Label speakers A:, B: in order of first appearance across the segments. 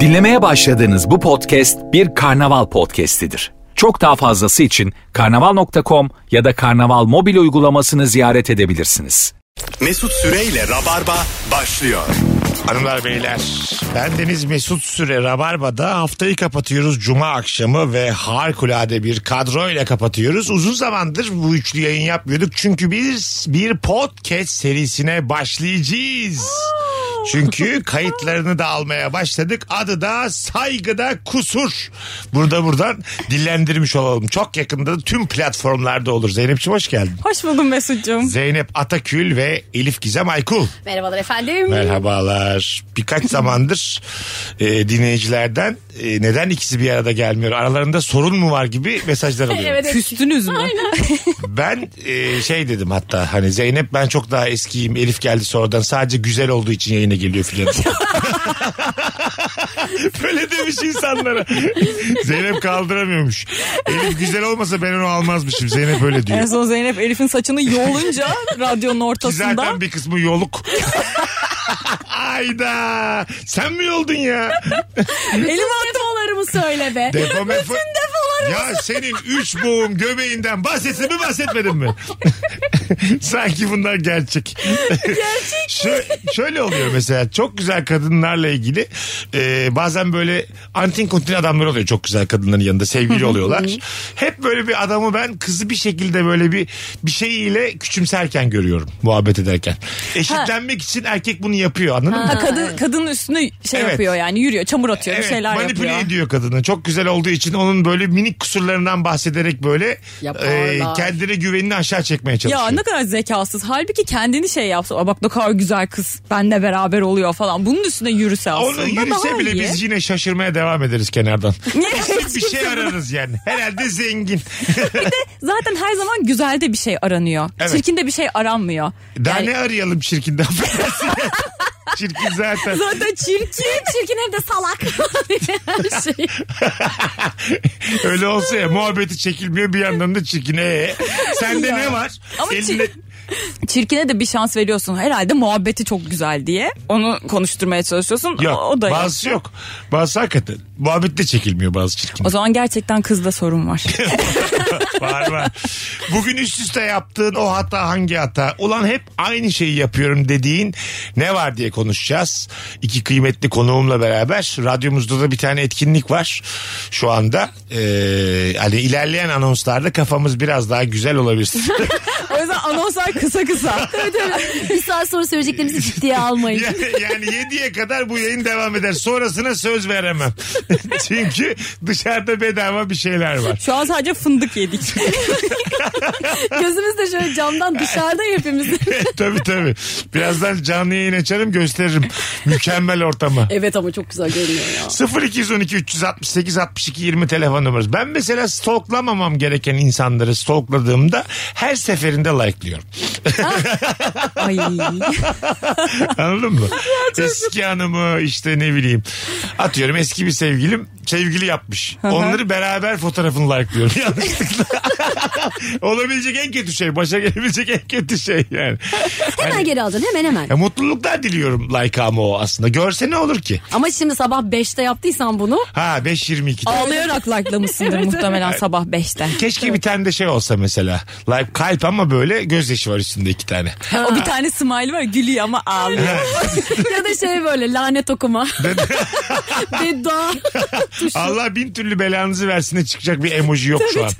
A: Dinlemeye başladığınız bu podcast bir karnaval podcastidir. Çok daha fazlası için karnaval.com ya da karnaval mobil uygulamasını ziyaret edebilirsiniz.
B: Mesut Süreyle Rabarba başlıyor.
C: Hanımlar beyler ben Deniz Mesut Süre Rabarba'da haftayı kapatıyoruz Cuma akşamı ve harikulade bir kadroyla kapatıyoruz. Uzun zamandır bu üçlü yayın yapmıyorduk çünkü biz bir podcast serisine başlayacağız. Çünkü kayıtlarını da almaya başladık. Adı da saygıda kusur. Burada buradan dillendirmiş olalım. Çok yakında tüm platformlarda olur. Zeynep'ciğim hoş geldin.
D: Hoş buldum Mesut'cum.
C: Zeynep Atakül ve Elif Gizem Aykul.
D: Merhabalar efendim.
C: Merhabalar. Birkaç zamandır e, dinleyicilerden e, neden ikisi bir arada gelmiyor? Aralarında sorun mu var gibi mesajlar alıyorum.
D: Evet, Küstünüz mü?
C: Ben e, şey dedim hatta hani Zeynep ben çok daha eskiyim. Elif geldi sonradan sadece güzel olduğu için yayına geliyor filan. Böyle demiş insanlara. Zeynep kaldıramıyormuş. Elif güzel olmasa ben onu almazmışım. Zeynep öyle diyor.
D: En son Zeynep Elif'in saçını yoğulunca radyonun
C: Ki
D: ortasında
C: Zaten bir kısmı yoluk. Ayda sen mi yoldun ya?
D: Elif defolarımı söyle be.
C: Depo mefo... Ya senin üç boğum göbeğinden bahsettin mi bahsetmedin mi? Sanki bunlar gerçek. Gerçek Şöyle oluyor mesela çok güzel kadınlarla ilgili e, bazen böyle antin kontin adamlar oluyor çok güzel kadınların yanında sevgili oluyorlar. Hep böyle bir adamı ben kızı bir şekilde böyle bir bir şeyiyle küçümserken görüyorum muhabbet ederken. Eşitlenmek için erkek bunu yapıyor anladın mı?
D: Ha, kadın, kadının üstüne şey
C: Evet.
D: yapıyor yani yürüyor çamur atıyor bir şeyler
C: manipüle
D: yapıyor.
C: ediyor kadını. Çok güzel olduğu için onun böyle minik kusurlarından bahsederek böyle e, kendine güvenini aşağı çekmeye çalışıyor.
D: Ya ne kadar zekasız. Halbuki kendini şey yapsa "Aa, bak ne kadar güzel kız benle beraber oluyor falan. Bunun üstüne yürüse aslında
C: Onu yürüse
D: daha
C: bile
D: iyi.
C: biz yine şaşırmaya devam ederiz kenardan.
D: Niye?
C: Kesin bir şey ararız yani. Herhalde zengin.
D: Zaten her zaman güzelde bir şey aranıyor.
C: Evet.
D: Çirkinde bir şey aranmıyor.
C: Daha
D: Yani-
C: ne arayalım çirkinden? Çirkin zaten.
D: Zaten çirkin. çirkin hem de salak. her şey.
C: Öyle olsa ya muhabbeti çekilmiyor bir yandan da çirkin. Ee, sende ne var?
D: Ama çir-
C: Elinde-
D: Çirkine de bir şans veriyorsun. Herhalde muhabbeti çok güzel diye. Onu konuşturmaya çalışıyorsun.
C: Yok,
D: o da yok.
C: bazısı yok. Bazısı hakikaten. Muhabbet de çekilmiyor bazı çirkin.
D: O zaman gerçekten kızda sorun var.
C: var var. Bugün üst üste yaptığın o hata hangi hata? Ulan hep aynı şeyi yapıyorum dediğin ne var diye konuşacağız. İki kıymetli konuğumla beraber radyomuzda da bir tane etkinlik var şu anda. Ee, hani ilerleyen anonslarda kafamız biraz daha güzel olabilir.
D: o yüzden anonslar kısa kısa.
E: bir saat sonra söyleyeceklerimizi ciddiye almayın.
C: yani, yani 7'ye kadar bu yayın devam eder. Sonrasına söz veremem. Çünkü dışarıda bedava bir şeyler var.
D: Şu an sadece fındık yedik.
E: Gözümüz de şöyle camdan dışarıda hepimiz.
C: tabii tabii. Birazdan canlı yayın açarım gösteririm. Mükemmel ortamı.
E: evet ama çok güzel görünüyor ya.
C: 0212 368 62 20 telefon numarası. Ben mesela stalklamamam gereken insanları stalkladığımda her seferinde like'lıyorum.
D: Ay.
C: Anladın mı? eski hanımı işte ne bileyim. Atıyorum eski bir sevgilim sevgili yapmış. Onları beraber fotoğrafını like'lıyorum yanlışlıkla. Olabilecek en kötü şey. Başa gelebilecek en kötü şey yani.
E: Hemen geri alacaksın hemen hemen.
C: Ya mutluluklar diliyorum like ama o aslında. Görse ne olur ki?
E: Ama şimdi sabah 5'te yaptıysan bunu.
C: Ha 5.22'de.
D: Ağlayarak like'lamışsındır muhtemelen sabah 5'te.
C: Keşke bir tane de şey olsa mesela. Like kalp ama böyle gözyaşı var üstünde iki tane.
D: O bir tane smile var gülüyor ama ağlıyor.
E: ya da şey böyle lanet okuma. Beddua.
C: Allah bin türlü belanızı versin de çıkacak bir emoji yok şu an.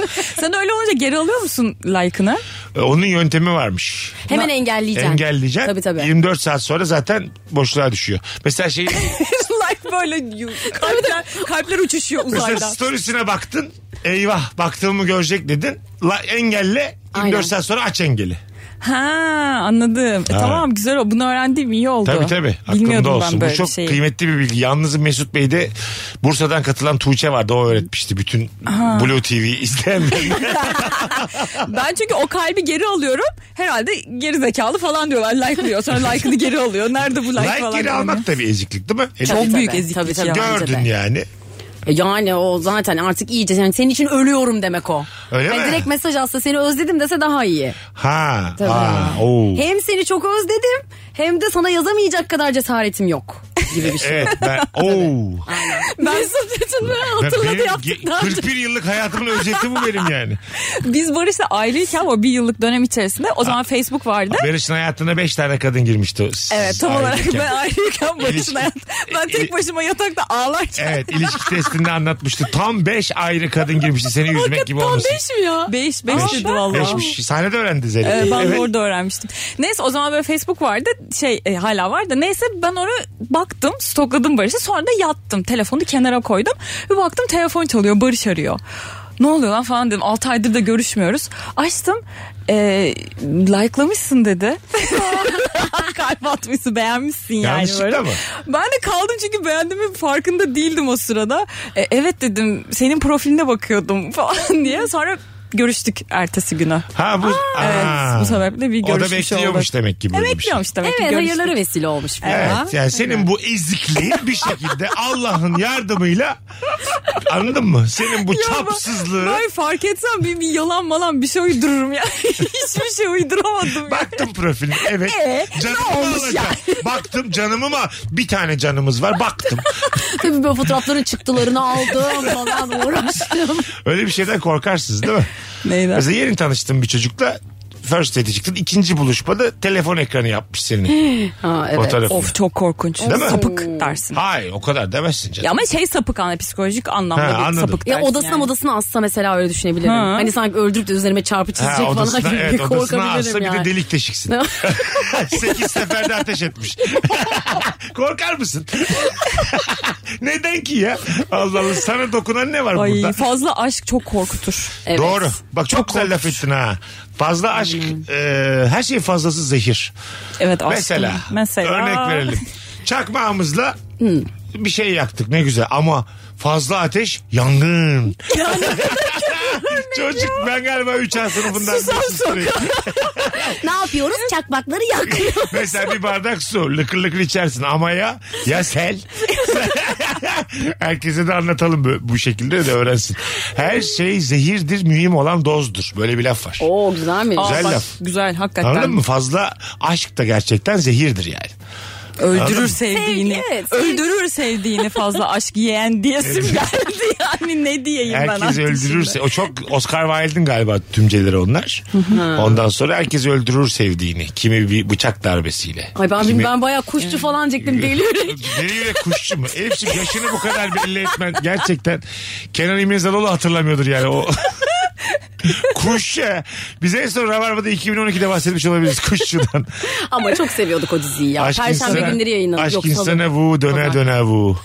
D: Sen öyle olunca geri alıyor musun like'ını?
C: Ee, Onun yöntemi varmış.
E: Hemen engelleyeceksin.
C: Engelleyeceksin.
E: Tabii tabii.
C: 24 saat sonra zaten boşluğa düşüyor. Mesela şey
D: like böyle yu- kalpler, kalpler uçuşuyor
C: mesela
D: uzayda.
C: storiesine baktın. Eyvah baktığımı görecek dedin. La, engelle 24
E: Aynen.
C: saat sonra aç engeli.
D: Ha anladım. E, tamam güzel o. Bunu öğrendim iyi oldu.
C: Tabii tabii. Aklımda
D: Bilmiyordum ben
C: olsun.
D: böyle
C: Bu çok
D: bir şeyi.
C: kıymetli bir bilgi. Yalnız Mesut Bey de Bursa'dan katılan Tuğçe vardı. O öğretmişti bütün Blue TV izleyenlerine.
D: Ben çünkü o kalbi geri alıyorum. Herhalde geri zekalı falan diyorlar. Like'lıyor. Sonra like'ını geri alıyor. Nerede bu like,
C: like
D: falan?
C: geri
D: diyor.
C: almak da bir eziklik değil mi?
D: Çok
E: Tabii,
D: büyük
E: tabii.
D: eziklik
E: Tabii, tabii.
D: ya.
E: bence
C: Gördün
E: de.
C: yani.
E: E Yani o zaten artık iyice yani senin için ölüyorum demek o.
C: Öyle
E: Yani
C: mi?
E: Direkt mesaj atsa seni özledim dese daha iyi.
C: Ha.
E: Tabii.
C: ha, oh. oo.
E: Hem seni çok özledim hem de sana yazamayacak kadar cesaretim yok.
D: gibi bir şey.
C: Evet ben ooo.
E: Mesut için böyle
C: Ben-
E: hatırladı
C: benim
E: yaptık
C: ge-
E: daha önce.
C: 41 yıllık hayatımın özeti bu benim yani.
D: Biz Barış'la aileyken o bir yıllık dönem içerisinde o zaman Facebook vardı.
C: Barış'ın hayatına 5 tane kadın girmişti. S-
D: Evet tam olarak
C: ayrıyken.
D: ben ayrıyken Barış'ın
C: İlişki-
D: hayat. Ben tek başıma yatakta ağlarken.
C: Evet ilişki testinde anlatmıştı. Tam 5 ayrı kadın girmişti seni yüzmek gibi
E: Tam
C: olmasın.
E: beş mi ya?
D: Beş, beş dedi valla.
C: Beşmiş. Sahnede öğrendi Zeynep.
D: Ee, ben
C: Evet.
D: de orada öğrenmiştim. Neyse o zaman böyle Facebook vardı. Şey e, hala var da neyse ben onu baktım stokladım Barış'ı. Sonra da yattım. Telefonu kenara koydum. Bir baktım telefon çalıyor Barış arıyor. Ne oluyor lan falan dedim. 6 aydır da görüşmüyoruz. Açtım. E, like'lamışsın dedi. Kalp atmışsın beğenmişsin yani.
C: Yanlışlıkla
D: böyle.
C: mı?
D: Ben de kaldım çünkü beğendiğimin farkında değildim o sırada. E, evet dedim senin profiline bakıyordum falan diye. Sonra görüştük ertesi günü.
C: Ha bu. Aa.
D: Evet, bu sebeple bir
C: O da
D: görüşmüş
C: bekliyormuş
D: olduk.
C: demek ki böyle
D: Evet,
C: bir şey.
D: bekliyormuş demek ki.
E: Evet
D: görüştük.
E: hayırlara vesile olmuş. bu
C: Evet
E: ya.
C: yani senin bu ezikliğin bir şekilde Allah'ın yardımıyla anladın mı? Senin bu
D: Ya ben-
C: çapsızlığı.
D: Ben fark etsem bir, bir yalan malan bir şey uydururum ya. Hiçbir şey uyduramadım. ya.
C: Baktım profiline evet.
D: Ee,
C: canımı
D: ne
C: mı
D: olmuş
C: alacağım? Baktım canımı mı? Bir tane canımız var baktım.
E: Tabii böyle fotoğrafların çıktılarını aldım falan uğraştım.
C: Öyle bir şeyden korkarsınız değil mi?
D: Neyden?
C: Mesela yeni tanıştığım bir çocukla first date çıktın. İkinci buluşmada telefon ekranı yapmış senin
E: Ha, evet.
C: fotoğrafını.
D: Of çok korkunç.
C: Değil mi?
D: Sapık dersin.
C: Hayır o kadar demezsin canım.
D: Ya ama şey sapık anlamda psikolojik anlamda
C: Ha,
D: bir
C: anladım.
D: sapık
E: Ya
D: dersin
E: odasına
D: yani.
E: odasına asla mesela öyle düşünebilirim.
D: Ha.
E: Hani sanki öldürüp de üzerime çarpı çizecek
C: Ha,
E: falan
C: odasına,
E: gibi
C: evet, odasına alsa bir
E: korkabilirim
C: de
E: yani.
C: delik deşiksin. Sekiz seferde ateş etmiş. Korkar mısın? Neden ki ya? Allah Allah sana dokunan ne var
D: Ay
C: burada?
D: fazla aşk çok korkutur.
E: Evet.
C: Doğru. Bak çok, güzel laf ettin ha. Fazla aşk, e, her şey fazlası zehir.
D: Evet aşkım.
C: Mesela,
D: Mesela.
C: örnek verelim. Çakmağımızla bir şey yaktık ne güzel ama fazla ateş yangın. Çocuk ben galiba 3A sınıfından birisi sürekli.
E: Ne yapıyoruz? Çakmakları yakıyoruz.
C: Mesela bir bardak su lıkır lıkır içersin ama ya ya sel. Herkese de anlatalım bu, bu şekilde de öğrensin. Her şey zehirdir mühim olan dozdur. Böyle bir laf var.
E: Oo güzelmiş.
D: Aa,
C: Güzel
D: bak,
C: laf.
D: Güzel hakikaten.
C: Anladın mı? Fazla aşk da gerçekten zehirdir yani. Anladın
D: Öldürür
C: mı?
D: sevdiğini.
E: Sevgi, evet, sevgi.
D: öldürür sevdiğini fazla aşk yiyen diyesim geldi. Yani ne diyeyim ben
C: Herkes
D: artık
C: öldürürse
D: şimdi?
C: o çok Oscar Wilde'in galiba tümceleri onlar. Ondan sonra herkes öldürür sevdiğini. Kimi bir bıçak darbesiyle.
E: Ay ben
C: kimi...
E: ben bayağı kuşçu falan diyecektim deli yürek.
C: Deli yürek kuşçu mu? Elif'ciğim yaşını bu kadar belli etmen gerçekten Kenan İmirzalıoğlu hatırlamıyordur yani o. Kuş ya. Biz en son Rabarba'da 2012'de bahsetmiş olabiliriz kuşçudan.
E: Ama çok seviyorduk o diziyi ya. Perşembe
C: insana-
E: günleri yayınlanıyor.
C: Aşk
E: Yok,
C: insana
E: salı.
C: vu döner
E: Pazar.
C: döner vu.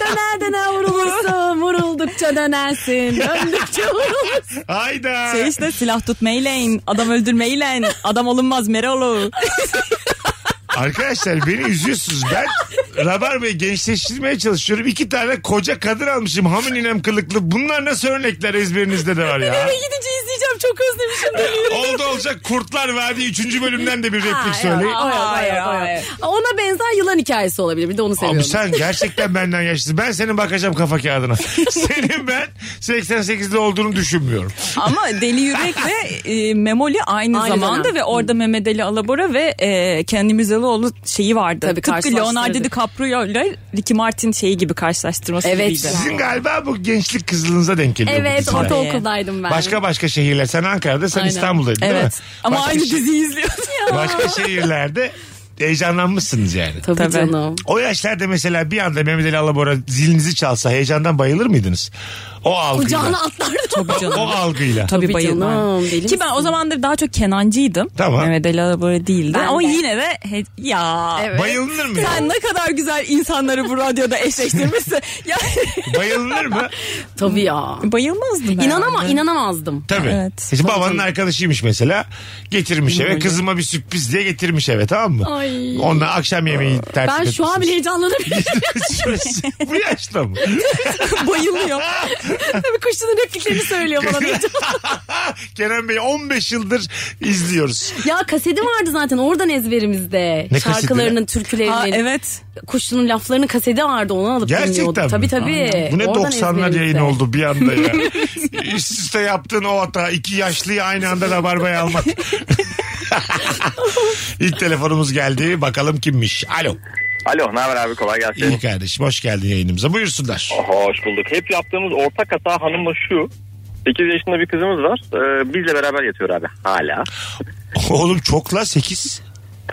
E: Döner döner vurulursun. Vuruldukça dönersin. Döndükçe vurulursun.
C: Hayda.
D: Şey işte silah tutmayla, adam öldürmeyle, adam olunmaz Meral'o.
C: Arkadaşlar beni üzüyorsunuz. Ben Rabarba'yı gençleştirmeye çalışıyorum. İki tane koca kadın almışım. Hamın inem kılıklı. Bunlar nasıl örnekler ezberinizde de var ya.
E: Gidince izleyeceğim çok özlemişim deli yüreği.
C: Oldu olacak kurtlar verdi. Üçüncü bölümden de bir replik
E: Hayır,
C: söyleyin.
E: hayır, hayır, hayır.
D: hayır.
E: Ona benzer yılan hikayesi olabilir. Bir de onu seviyorum.
C: Abi sen gerçekten benden yaşlısın. Ben senin bakacağım kafa kağıdına. Senin ben 88'de olduğunu düşünmüyorum.
D: Ama Deli Yürek ve e, Memoli aynı,
E: Aynı
D: zamanda
E: dönem.
D: ve orada Mehmet Ali Alabora ve e, Kendi Müzeloğlu şeyi vardı.
E: Tabii,
D: Tıpkı
E: karşılaştırdı.
D: Leonardo DiCaprio ile Ricky Martin şeyi gibi karşılaştırması
E: Evet.
D: gibiydi.
C: Sizin galiba bu gençlik kızlığınıza denk geliyor. bu
E: Evet
C: diziler.
E: ortaokuldaydım ben.
C: Başka başka şehirler. Sen Ankara'da, sen
E: Aynen.
C: İstanbul'daydın değil
D: Evet.
C: mi?
D: Ama
C: Başka
D: aynı
C: şe-
D: diziyi izliyoruz ya.
C: Başka şehirlerde heyecanlanmışsınız yani.
E: Tabii,
D: Tabii.
E: canım.
C: O yaşlarda mesela bir anda Mehmet Ali Alabora zilinizi çalsa heyecandan bayılır mıydınız? O algıyla.
E: Kucağına atlardım.
D: Tabii canım.
C: O algıyla.
D: Tabii,
E: Tabii
D: bayılmam.
E: canım, deli
D: Ki ben o
E: misin?
D: zamandır daha çok Kenancıydım.
C: Tamam.
D: Mehmet Ali Alabora değildi.
E: Ben
D: Ama
E: de.
D: yine de he- ya.
C: Bayılınır mı?
D: Sen ne kadar güzel insanları bu radyoda eşleştirmişsin. ya
C: Bayılınır mı?
E: Tabii ya.
D: bayılmazdım herhalde.
E: İnanama, inanamazdım.
C: Tabii.
D: Evet.
C: Şimdi babanın arkadaşıymış mesela. Getirmiş eve. Kızıma bir sürpriz diye getirmiş eve tamam mı?
E: Ay.
C: Onunla akşam yemeği tertip
E: Ben şu an
C: etmişsiniz.
E: bile heyecanlanabilirim.
C: Şurası- Bu yaşta mı?
D: bayılıyor.
E: Tabii kuşçunun repliklerini söylüyor bana.
C: Kenan Ah, Bey 15 yıldır izliyoruz.
E: ya kaseti vardı zaten oradan ezberimizde.
C: Ne kaseti
E: Şarkılarının, türkülerinin,
D: Ha, evet.
E: kuşçunun laflarının kaseti vardı onu alıp
C: Gerçekten
E: dinliyordum.
C: mi?
E: Tabii tabii.
C: Bu ne
E: Oradan
C: 90'lar yayın
E: ezberimizde.
C: oldu bir anda ya. Üst üste yaptığın o hata iki yaşlıyı aynı anda rabarbaya almak. İlk telefonumuz geldi. Bakalım kimmiş? Alo.
F: Alo, ne haber abi kolay gelsin.
C: İyi kardeşim hoş geldin yayınımıza. Buyursunlar.
F: Hoş bulduk. Hep yaptığımız ortak hata hanımla şu. 8 yaşında bir kızımız var. Ee, bizle beraber yatıyor abi hala.
C: Oğlum çokla 8.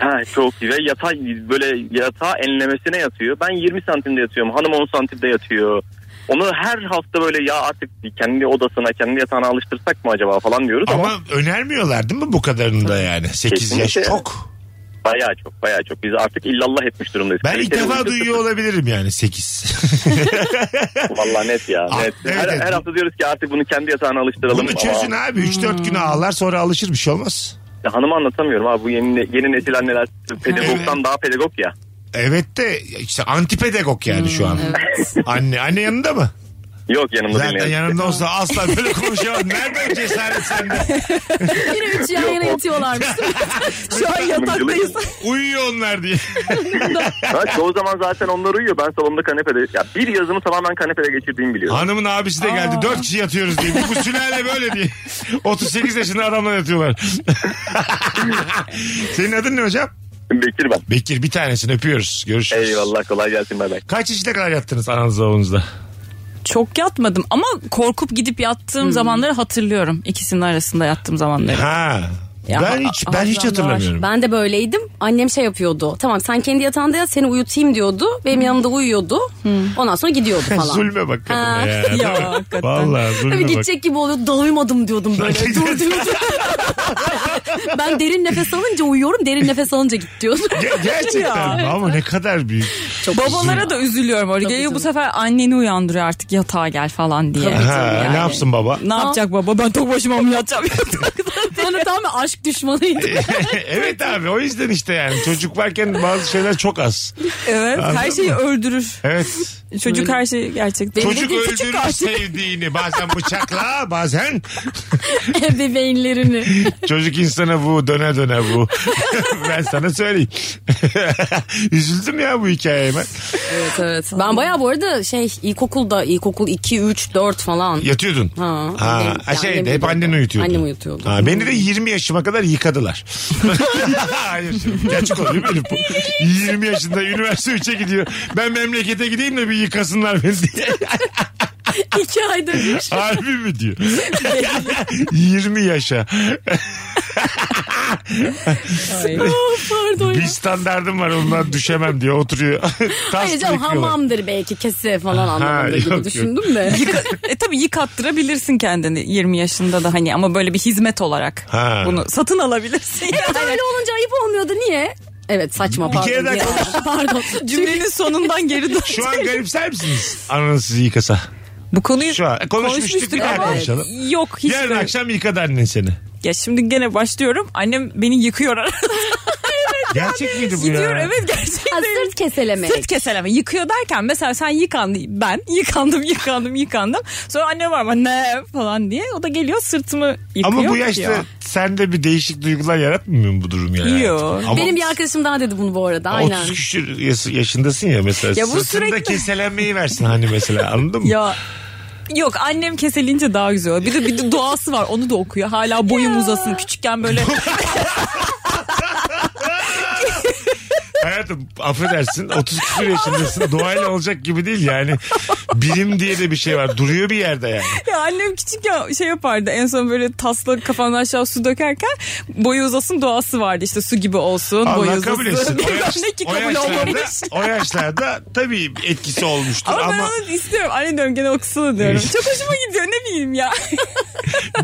F: Ha, çok ve yatağa böyle yatağa enlemesine yatıyor. Ben 20 santimde yatıyorum. Hanım 10 santimde yatıyor. Onu her hafta böyle ya artık kendi odasına kendi yatağına alıştırsak mı acaba falan diyoruz ama,
C: Ama önermiyorlar değil mi bu kadarını da yani? 8 yaş
F: Kesinlikle.
C: çok.
F: bayağı çok bayağı çok. Biz artık illallah etmiş durumdayız.
C: Ben ilk
F: Kaliteli
C: defa
F: uyku-
C: duyuyor olabilirim yani 8.
F: Vallahi net ya
C: Ah,
F: net.
C: evet,
F: her,
C: evet.
F: her hafta diyoruz ki artık bunu kendi yatağına alıştıralım.
C: Bunu çözün
F: ama Hmm.
C: abi 3-4 gün ağlar sonra alışır bir şey olmaz.
F: ya hanıma anlatamıyorum abi bu yeni, yeni nesil anneler pedagogdan daha pedagog ya.
C: Evet de işte antipedagog yani şu
F: Hmm,
C: an. Anne anne yanında mı?
F: Yok yanımda değil.
C: Zaten
F: yani.
C: yanında olsa asla böyle konuşamaz. Nereden cesaret sende?
E: Yine üç yan yana yatıyorlarmış. değil mi?
D: Şu an yataktayız.
C: Uyuyor onlar diye.
F: Ha, çoğu zaman zaten onlar uyuyor. Ben salonda kanepede. Ya bir yazımı tamamen kanepede geçirdiğimi biliyorum.
C: Hanımın abisi de geldi. Dört kişi yatıyoruz diye. Bu sülale böyle diye. 38 yaşında adamla yatıyorlar. Senin adın ne hocam?
F: Bekir ben.
C: Bekir bir tanesini öpüyoruz. Görüşürüz.
F: Eyvallah kolay gelsin bay bay.
C: Kaç yaşına kadar yattınız ananızla oğlunuzla?
D: Çok yatmadım ama korkup gidip yattığım zamanları hatırlıyorum. İkisinin arasında yattığım zamanları.
C: Hmm. Ha.
D: Ya,
C: ben hiç ben
D: ağzımda
C: hiç
D: var.
C: hatırlamıyorum.
E: Ben de böyleydim. Annem şey yapıyordu. Tamam sen kendi yatağında yat seni uyutayım diyordu. Benim yanımda uyuyordu. Ondan sonra gidiyordu falan.
C: Zulme bak kadına
E: Ha.
C: ya. değil mi?
D: Ya, hakikaten.
C: Vallahi zulme
E: Tabii
C: bak.
E: gidecek gibi oluyor. Doymadım diyordum böyle. Dur diyordum. ben derin nefes alınca uyuyorum. Derin nefes alınca git diyordum.
C: Ge- Gerçekten mi? Ama ne kadar büyük.
D: Babalara da üzülüyorum. Orgeyi bu
E: canım.
D: sefer anneni uyandırıyor artık yatağa gel falan diye.
E: Tabii.
C: Ha,
E: yani.
C: Ne yapsın baba?
D: Ne yapacak baba ben tek başıma mı yatacağım yatakta?
E: Bana tam bir aşk düşmanıydı.
C: evet abi o yüzden işte yani çocuk varken bazı şeyler çok az.
D: evet her
C: Anladın
D: şeyi
C: mı?
D: öldürür.
C: Evet.
D: Çocuk her şeyi gerçekten.
C: Çocuk
D: Bugün
C: öldürür
D: katil.
C: sevdiğini bazen bıçakla bazen
E: Bebeğinlerini.
C: çocuk insana bu döne döne bu. ben sana söyleyeyim. Üzüldüm ya bu hikayeye ben.
E: Evet evet. Ben bayağı bu arada şey ilkokulda ilkokul 2, 3, 4 falan.
C: Yatıyordun.
E: Ha,
C: ha,
E: annem-
C: şey de
E: annem
C: hep annen uyutuyordu.
E: Annem uyutuyordu.
C: Ha, beni de 20 yaşıma kadar yıkadılar. Hayır. Gerçek oluyor benim bu. 20 yaşında üniversite 3'e gidiyor. Ben memlekete gideyim de bir yıkasınlar beni diye.
E: İki ayda bir. şey.
C: Harbi mi diyor? 20 yaşa.
E: Of, Pardon
C: Bir
E: ya.
C: standardım var ondan düşemem diyor. Oturuyor. Tas
E: Ayrıca
C: yıkıyorlar.
E: hamamdır belki kese falan
C: şey
E: anlamında
C: yok, yok.
E: gibi düşündüm de.
D: E tabii yıkattırabilirsin kendini 20 yaşında da hani ama böyle bir hizmet olarak
C: Ha.
D: bunu satın alabilirsin.
E: Öyle olunca ayıp olmuyordu niye? Evet saçma pardon.
C: kere daha
E: Ya, Pardon.
D: Cümlenin sonundan geri dön.
C: Şu an garipser misiniz? Ananız sizi yıkasa.
D: Bu konuyu
C: Şu an konuşmuştuk. Bir daha
D: E, ama
C: konuşalım.
D: yok hiç
C: Yarın
D: böyle-
C: akşam yıkadı annen seni.
D: Ya şimdi gene başlıyorum. Annem beni yıkıyor arada.
C: Gerçek miydi bu ya?
D: Gidiyor evet gerçekten.
E: Ha, sırt keselemek.
D: Sırt keseleme. Yıkıyor derken mesela sen yıkandın. Ben yıkandım yıkandım yıkandım. Sonra anne var mı ne falan diye. O da geliyor sırtımı yıkıyor.
C: Ama bu yaşta
D: diyor.
C: sende bir değişik duygular yaratmıyor mu bu durum yani?
D: Yok.
C: Ama
E: Benim bir arkadaşım daha dedi bunu bu arada aynen.
C: 30 küsür yaş- yaşındasın ya mesela.
D: Ya bu
C: Sırtında
D: sürekli-
C: keselenmeyi versin hani mesela anladın mı?
D: Ya Yok annem keselince daha güzel. Bir de bir de duası var. Onu da okuyor. Hala boyum uzasın. Küçükken böyle
C: Hayatım affedersin 30 küsür yaşındasın doğayla olacak gibi değil yani. Bilim diye de bir şey var duruyor bir yerde yani.
D: Ya annem küçükken şey yapardı en son böyle tasla kafanın aşağı su dökerken boyu uzasın doğası vardı işte su gibi olsun boyu
C: Allah
D: uzasın.
C: kabul etsin. O,
D: Bilmem
C: yaş-
D: ne ki
C: o
D: kabul
C: yaşlarda,
D: olmamış.
C: o yaşlarda tabii etkisi olmuştur
D: Ama,
C: ama,
D: ben onu istiyorum. Anne diyorum gene okusana diyorum. Çok hoşuma gidiyor ne bileyim ya.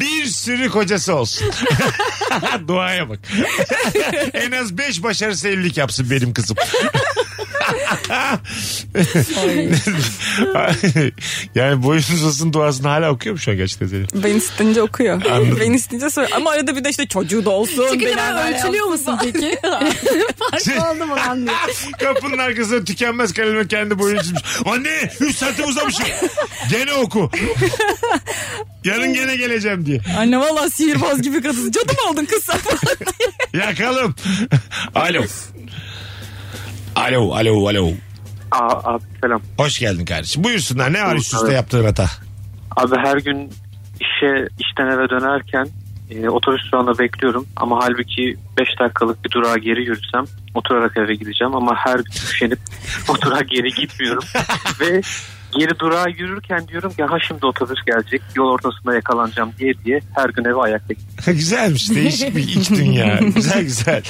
C: bir sürü kocası olsun. Duaya bak. en az 5 başarısı evlilik yapsın benim kızım. yani boyunuzun duasını hala okuyor mu şu an gerçekten Zeynep?
D: ben isteyince okuyor. Ben isteyince soruyor. Ama arada bir de işte çocuğu da olsun.
E: Çıkınca
D: beraber
E: ben ölçülüyor musun peki? Farklı oldu mu lan diye.
C: Kapının arkasında tükenmez kalemi kendi boyunu çizmiş. Anne 3 santim uzamışım. Gene oku. Yarın gene geleceğim diye.
D: yapalım. Anne valla sihirbaz gibi kadın. Cadı mı oldun kız sen falan diye.
C: Yakalım. Alo. Alo, alo, alo.
G: Aa, abi selam.
C: Hoş geldin kardeşim. Buyursunlar. Ne var üst üste yaptığın hata?
G: Abi her gün işe işten eve dönerken e, e, otobüs durağında bekliyorum ama halbuki 5 dakikalık bir durağa geri yürüsem oturarak eve gideceğim ama her gün üşenip o durağa geri gitmiyorum ve geri durağa yürürken diyorum ki ha şimdi otobüs gelecek yol ortasında yakalanacağım diye diye her gün eve ayakta gidiyorum.
C: Güzelmiş değişik bir iç dünya. güzel güzel.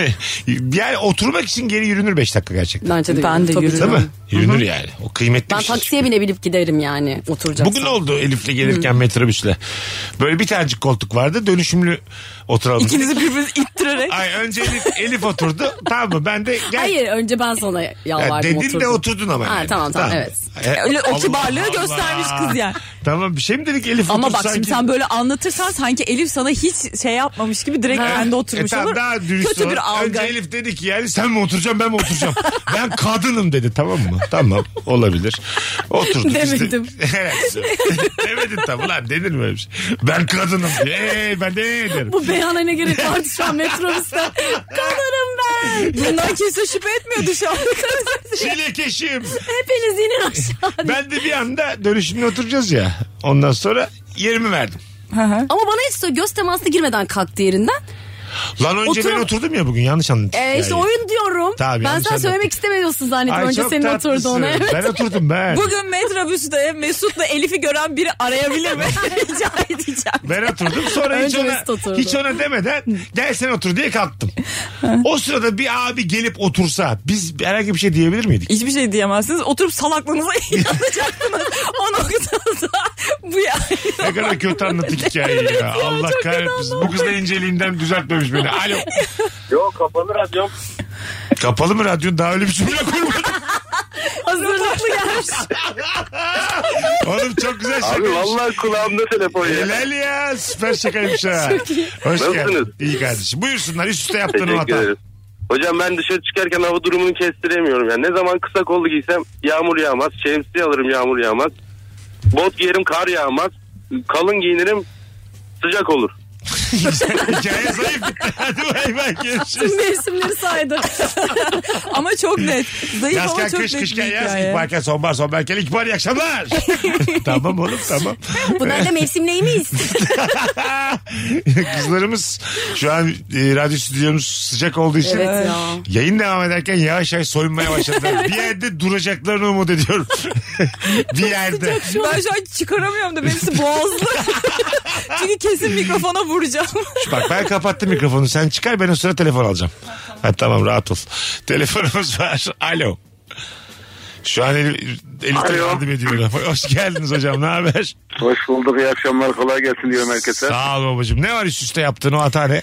C: yani oturmak için geri yürünür 5 dakika gerçekten.
E: Bence de
D: Ben de
E: Tabii
D: yürürüm.
C: Değil
E: canım.
C: mi? Yürünür yani. O kıymetli
E: Ben
C: bir şey.
E: taksiye binebilip giderim yani oturacağım.
C: Bugün oldu Elif'le gelirken metrobüsle. Böyle bir tanecik koltuk vardı. Dönüşümlü oturalım.
D: İkinizi birbirinizi ittirerek.
C: Ay önce Elif, Elif oturdu. tamam mı? Ben de gel.
E: Hayır önce ben sana yalvardım
C: Ya dedin
E: oturdum.
C: de oturdun ama.
E: Ha,
C: yani.
E: tamam, tamam, evet.
C: E,
D: Öyle o
C: Allah
D: kibarlığı
C: Allah.
D: göstermiş kız yani.
C: Tamam bir şey mi dedik Elif
D: Ama
C: otur
D: bak şimdi
C: sanki?
D: sen böyle anlatırsan sanki Elif sana hiç şey yapmamış gibi direkt önde oturmuş
C: E, tamam,
D: olur.
C: Daha dürüst
D: Kötü
C: ol.
D: bir algı.
C: Önce Elif dedi ki yani sen mi oturacaksın ben mi oturacağım? ben kadınım dedi tamam mı? Tamam olabilir. Oturduk
D: Demedim.
C: işte. Evet. Demedin tabii lan denir mi öyle bir şey? Ben kadınım diye. Ee, ben de ee derim.
E: Bu beyana ne gerek vardı şu an metrobüste. Kalırım ben.
D: Bundan kimse şüphe etmiyordu şu an.
C: Çilekeşim.
E: Hepiniz inin aşağı.
C: Ben de bir anda dönüşümle oturacağız ya. Ondan sonra yerimi verdim.
E: Ama bana hiç söyle, göz temasına girmeden kalktı yerinden.
C: Lan önce
E: Oturam-
C: ben oturdum ya bugün yanlış anladın.
E: Ee, işte
C: Yani.
E: oyun diyorum.
C: Tabii,
E: ben
C: yanlış
E: sen
C: anladım.
E: söylemek istemiyorsun zannettim.
C: Ay,
E: Önce
C: çok
E: senin oturdu ona.
C: tatlısın.
E: Evet.
C: Ben oturdum ben.
D: Bugün metrobüste Mesut'la Elif'i gören biri arayabilir mi? Rica edeceğim.
C: Ben oturdum sonra hiç
E: Önce
C: ona,
E: Mesut oturdu.
C: hiç ona demeden gel sen otur diye kalktım. o sırada bir abi gelip otursa biz herhangi bir şey diyebilir miydik?
D: Hiçbir şey diyemezsiniz. Oturup salaklığınıza inanacaksınız. o noktada bu yani.
C: Ne kadar kötü anlattık hikayeyi ya. Allah
D: çok
C: kahretsin. Bu kız da inceliğinden düzeltmemiş beni. Alo.
F: Yok kapalı radyom.
C: Kapalı mı radyon? Daha öyle bir cümle kurmadım.
E: Hazırlıklı gelmiş.
C: Oğlum çok güzel
F: Abi
C: şakaymış.
F: vallahi kulağımda telefon ya.
C: Helal ya. Süper şakaymış ha. Hoş geldin.
F: Nasılsınız?
C: İyi kardeşim. Buyursunlar. Üst üste yaptığın o
F: Teşekkür
C: hata.
F: ederiz. Hocam ben dışarı çıkarken hava durumunu kestiremiyorum. Yani ne zaman kısa kollu giysem yağmur yağmaz. Şemsiye alırım yağmur yağmaz. Bot giyerim kar yağmaz. Kalın giyinirim sıcak olur.
C: Hikaye zayıf. Hadi bay bay. Görüşürüz.
E: Mevsimleri saydı.
D: ama çok net. Zayıf ama
C: Yazken
D: çok
C: kış
D: net
C: kışken
D: bir
C: yaz,
D: hikaye.
C: ilkbaharken sonbahar, sonbaharken ilkbahar iyi akşamlar. tamam oğlum tamam.
E: Bunlar da mevsim neyimiz?
C: Kızlarımız şu an e, radyo stüdyomuz sıcak olduğu için
E: Evet ya.
C: yayın devam ederken yavaş yavaş soyunmaya başladılar. bir yerde duracaklarını umut ediyorum. bir yerde.
D: Ben şu an çıkaramıyorum da benimsi boğazlı. Çünkü kesin mikrofona vuracağım.
C: Bak ben kapattım mikrofonu sen çıkar ben o sıra telefon alacağım. Ha, tamam rahat ol. Telefonumuz var. Alo. Şu an Elif, Elif de
F: Alo.
C: yardım ediyor. Hoş geldiniz hocam ne haber?
F: Hoş bulduk. iyi akşamlar. Kolay gelsin diyorum herkese.
C: Sağ ol babacığım. Ne var üst üste yaptığın o hata ne?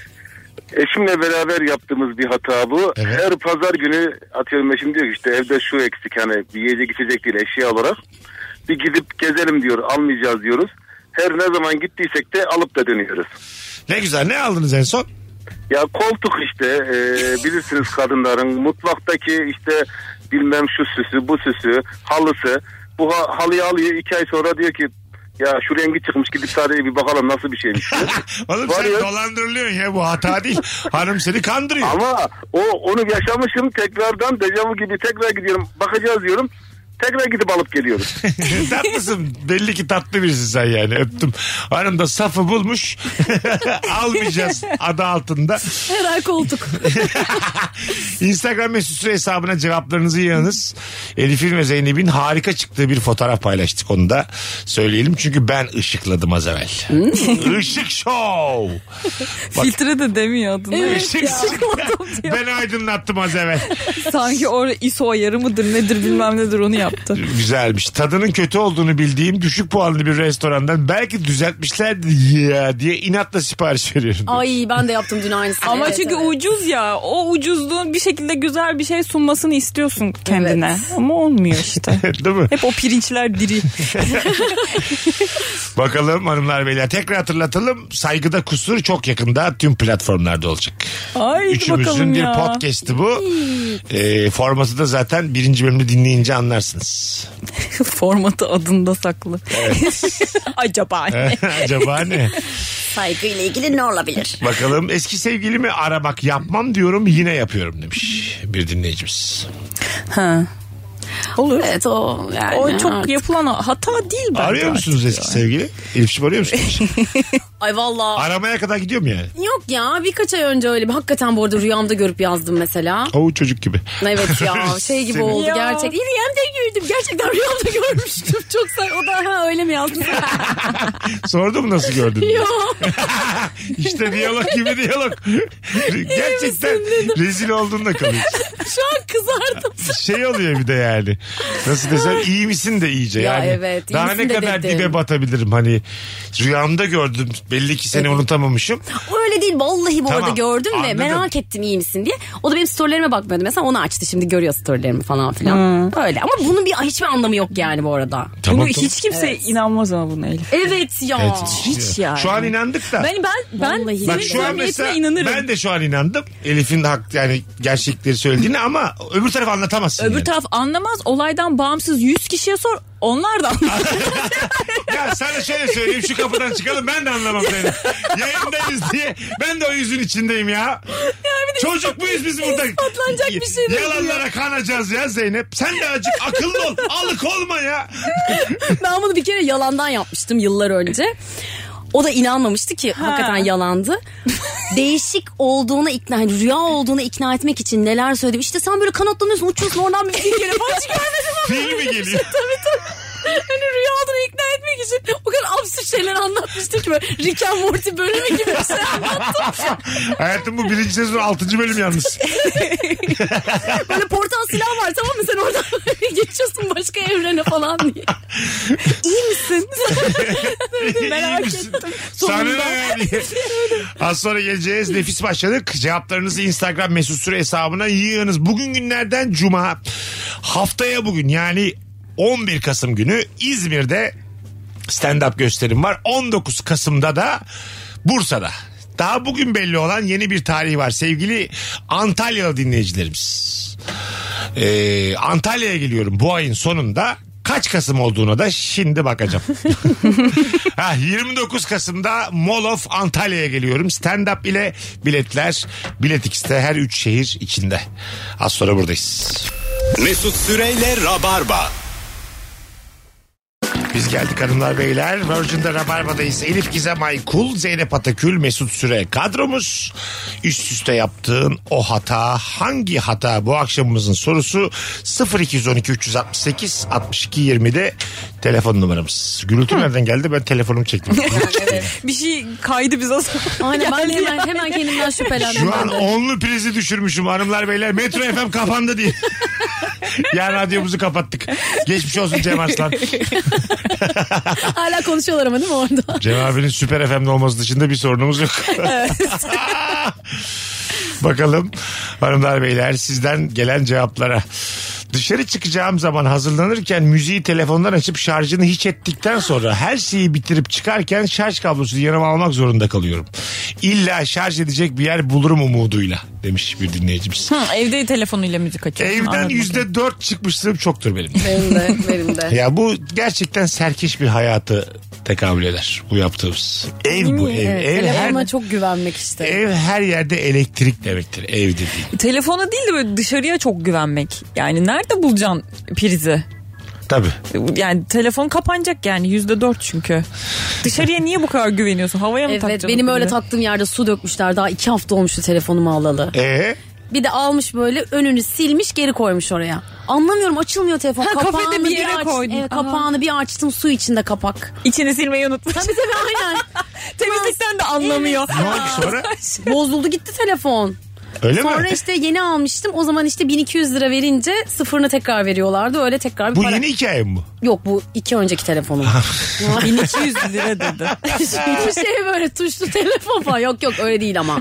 F: Eşimle beraber yaptığımız bir hata bu.
C: Evet.
F: Her pazar günü atıyorum eşim diyor ki işte evde şu eksik hani bir yiyecek içecek değil eşya olarak. Bir gidip gezelim diyor almayacağız diyoruz. Her ne zaman gittiysek de alıp da dönüyoruz.
C: Ne güzel ne aldınız en son?
F: Ya koltuk işte e, bilirsiniz kadınların mutfaktaki işte bilmem şu süsü bu süsü halısı. Bu ha- halıyı alıyor iki ay sonra diyor ki ya şu rengi çıkmış gidip sadece bir bakalım nasıl bir şey? şeymiş.
C: Oğlum
F: Var
C: sen
F: ya.
C: dolandırılıyorsun ya bu hata değil. Hanım seni kandırıyor.
F: Ama o onu yaşamışım tekrardan dejavu gibi tekrar gidiyorum bakacağız diyorum. Tekrar gidip alıp geliyoruz.
C: Tatlısın. Belli ki tatlı birisin sen yani. Öptüm. Hanım da safı bulmuş. Almayacağız adı altında.
E: Her ay koltuk.
C: Instagram mesut süre hesabına cevaplarınızı yığınız. Elif'in ve Zeynep'in harika çıktığı bir fotoğraf paylaştık onu da söyleyelim. Çünkü ben ışıkladım az evvel.
D: Hmm.
C: Işık show.
D: Filtre de demiyordun.
C: Işık Ben aydınlattım az evvel.
D: Sanki orada ISO ayarı mıdır nedir bilmem nedir onu yaptı.
C: Güzelmiş. Tadının kötü olduğunu bildiğim düşük puanlı bir restorandan belki düzeltmişlerdir ya diye inatla sipariş veriyorum.
E: Ay ben de yaptım dün aynısını.
D: Ama
E: Evet,
D: çünkü
E: evet.
D: ucuz ya. O ucuzluğun bir şekilde güzel bir şey sunmasını istiyorsun kendine.
E: Evet.
D: Ama olmuyor işte.
C: Değil mi?
D: Hep o pirinçler diri.
C: Bakalım hanımlar beyler tekrar hatırlatalım. Saygıda kusur çok yakında tüm platformlarda olacak.
D: Ay
C: Üçümüzün
D: bakalım
C: bir
D: ya.
C: podcast'i bu. Ee, formatı da zaten birinci bölümü dinleyince anlarsınız.
D: Formatı adında saklı. Acaba ne?
C: Acaba ne?
E: Saygıyla ilgili ne olabilir?
C: Bakalım eski sevgilimi aramak yapmam diyorum yine yapıyorum demiş bir dinleyicimiz.
D: Olur.
E: Evet o yani.
D: O çok
E: artık.
D: yapılan hata değil bence.
C: Arıyor musunuz
D: artık
C: eski sevgili? Elif'ciğim arıyor musunuz?
E: Ay valla.
C: Aramaya kadar gidiyor mu yani?
E: Yok ya birkaç ay önce öyle bir hakikaten bu arada rüyamda görüp yazdım mesela.
C: O çocuk gibi.
E: Evet ya şey gibi
C: Senin-
E: oldu
D: Ya.
E: gerçek. İyi rüyamda gördüm gerçekten rüyamda görmüştüm. Çok sen o da ha öyle mi yazdın?
C: Sordum nasıl gördün? diye.
E: Yok.
C: işte diyalog gibi diyalog. Gerçekten rezil olduğunda kalıyorsun.
E: Şu an kızardım.
C: Şey oluyor bir de yani. Nasıl desem iyi misin de iyice
E: Ya
C: yani.
E: evet, iyi
C: daha
E: misin
C: ne
E: de
C: kadar
E: dedim.
C: dibe batabilirim hani. Rüyamda gördüm. Belli ki seni unutamamışım.
E: Öyle değil vallahi bu
C: Tamam,
E: arada gördüm ve
C: anladım.
E: merak ettim iyi misin diye. O da benim storylerime bakmıyordu mesela onu açtı şimdi görüyor storylerimi falan filan. Öyle ama bunun bir hiçbir anlamı yok yani bu arada.
C: Tamam,
D: Bunu
C: tamam.
D: hiç kimse inanmaz ama buna Elif.
E: Evet ya.
D: Hiç yani.
C: Şu an inandık da.
D: Ben ben ben
E: Vallahi.
C: Bak
D: senin
C: şu an mesela
D: samimiyetine inanırım.
C: ben de şu an inandım. Elif'in hak yani gerçekleri söylediğini ama öbür tarafı anlatamazsın. yani.
D: Öbür taraf anlamaz. Olaydan bağımsız 100 kişiye sor. Onlar da anlamaz.
C: Ya sana şöyle söyleyeyim şu kapıdan çıkalım ben de anlamam seni. Yayındayız diye ben de o yüzün içindeyim ya. Çocuk muyuz biz burada?
E: ispatlanacak bir şey değil
C: Yalanlara kanacağız ya Zeynep. Sen de acık akıllı ol. Alık olma ya.
E: Ben bunu bir kere yalandan yapmıştım yıllar önce. O da inanmamıştı ki hakikaten yalandı. Değişik olduğuna ikna, hani rüya olduğuna ikna etmek için neler söyledim. İşte sen böyle kanatlanıyorsun uçuyorsun oradan bir fikir geliyor. Bana hiç görmedim ama.
C: Fil mi geliyor?
E: tabii tabii. Hani rüya olduğuna ikna etmek için o kadar absürt şeyler anlatmıştı ki böyle Rick and Morty bölümü gibi bir şey anlattım.
C: Hayatım bu birinci sezon altıncı bölüm yalnız.
E: Böyle portal silah var tamam mı sen oradan böyle geçiyorsun başka evrene falan diye. İyi misin?
C: Merak ettim. Sana ne yani? Az sonra geleceğiz. Nefis başladık. Cevaplarınızı Instagram mesut süre hesabına yığınız. Bugün günlerden cuma. Haftaya bugün yani 11 Kasım günü İzmir'de stand-up gösterim var. 19 Kasım'da da Bursa'da. Daha bugün belli olan yeni bir tarih var sevgili Antalyalı dinleyicilerimiz. Ee, Antalya'ya geliyorum bu ayın sonunda. Kaç Kasım olduğuna da şimdi bakacağım. Ha, 29 Kasım'da Mall of Antalya'ya geliyorum. Stand up ile biletler Bilet X'te her 3 şehir içinde. Az sonra buradayız.
B: Mesut Süreyle Rabarba.
C: Biz geldik hanımlar beyler. Virgin'de Rabarba'dayız. Elif Gizem Aykul, Zeynep Atakül, Mesut Süre kadromuz. Üst üste yaptığın o hata hangi hata bu akşamımızın sorusu 0212 368 62 20'de telefon numaramız. Gürültü nereden geldi ben telefonumu çektim.
D: bir şey kaydı bize.
E: Aynen ben de
D: Geldi
E: hemen, hemen kendimden şüphelendim.
C: Şu
E: ben
C: an
E: de.
C: onlu prizi düşürmüşüm hanımlar beyler. Metro FM kapandı diye. ya radyomuzu kapattık. Geçmiş olsun Cem Arslan.
E: Hala konuşuyorlar ama değil mi orada?
C: Cem abinin Süper FM'de olması dışında bir sorunumuz yok. Bakalım hanımlar beyler sizden gelen cevaplara. Dışarı çıkacağım zaman hazırlanırken müziği telefondan açıp şarjını hiç ettikten sonra her şeyi bitirip çıkarken şarj kablosunu yanıma almak zorunda kalıyorum. İlla şarj edecek bir yer bulurum umuduyla demiş bir dinleyicimiz.
D: Evde telefonuyla müzik açıyor.
C: Evden yüzde dört çıkmışlığım çoktur benim.
E: Benim de, benim de.
C: ya bu gerçekten serkeş bir hayatı tekabül eder bu yaptığımız. Ev bu ev.
E: Evet,
C: ev, her,
E: telefona çok güvenmek işte.
C: ev her yerde elektrik demektir ev dediğin.
D: Telefona değil de böyle dışarıya çok güvenmek. Yani nerede bulacaksın prizi?
C: Tabii.
D: Yani telefon kapanacak yani yüzde dört çünkü. Dışarıya niye bu kadar güveniyorsun? Havaya mı
E: Evet
D: takacaksın?
E: benim
D: o
E: öyle
D: prizi?
E: taktığım yerde su dökmüşler daha iki hafta olmuştu telefonumu alalı.
C: Ee,
E: Bir de almış böyle önünü silmiş geri koymuş oraya. Anlamıyorum açılmıyor telefon.
D: Ha, kafede
E: kapağını
D: bir yere
E: aç-
D: koydun.
E: Evet,
D: Aha.
E: kapağını bir açtım su içinde kapak.
D: İçini silmeyi unutmuş.
E: Tabii tabii aynen.
D: Temizlikten de anlamıyor.
C: ne oldu sonra?
E: Bozuldu gitti telefon.
C: Öyle mi?
E: Sonra işte yeni almıştım. O zaman işte 1200 lira verince sıfırını tekrar veriyorlardı. Öyle tekrar bir
C: Bu
E: para.
C: yeni hikaye mi bu?
E: Yok bu iki önceki telefonum.
D: 1200 lira dedi.
E: Hiçbir şey böyle tuşlu telefon falan. Yok yok öyle değil ama.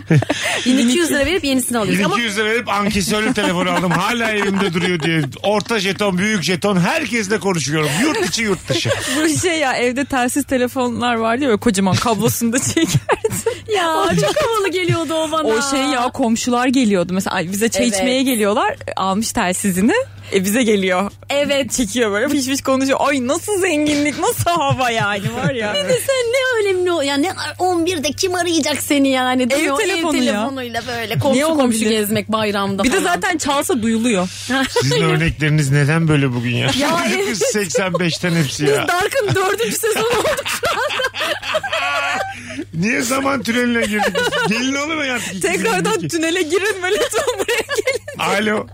E: 1200 lira verip yenisini alıyoruz. Ama
C: 1200 lira verip ankesörlü telefon aldım. Hala evimde duruyor diye. Orta jeton, büyük jeton herkesle konuşuyorum. Yurt içi yurt dışı.
D: Bu şey ya evde telsiz telefonlar vardı ya böyle kocaman kablosunu da çekerdi.
E: ya çok havalı geliyordu o bana.
D: O şey ya komşular geliyordu mesela ay, bize çay
E: Evet.
D: içmeye geliyorlar E, almış telsizini e, bize geliyor. Evet. Çekiyor böyle piş piş konuşuyor. Ay nasıl zenginlik nasıl hava yani var ya.
E: E sen ne önemli o yani ne 11'de kim arayacak seni yani değil
D: Ev
E: mi? O
D: telefonu ya.
E: telefonuyla böyle komşu
D: Niye
E: komşu
D: olabilir?
E: gezmek bayramda
D: bir de
E: falan.
D: zaten çalsa duyuluyor.
C: Sizin örnekleriniz neden böyle bugün ya? 85'ten hepsi ya.
E: Dark'ın dördüncü sezonu olduk şu anda.
C: Niye zaman tüneline girdik? biz? Gelin olamayın artık.
D: Tekrardan
C: 2022.
D: tünele girilme lütfen buraya gelin.
C: Alo.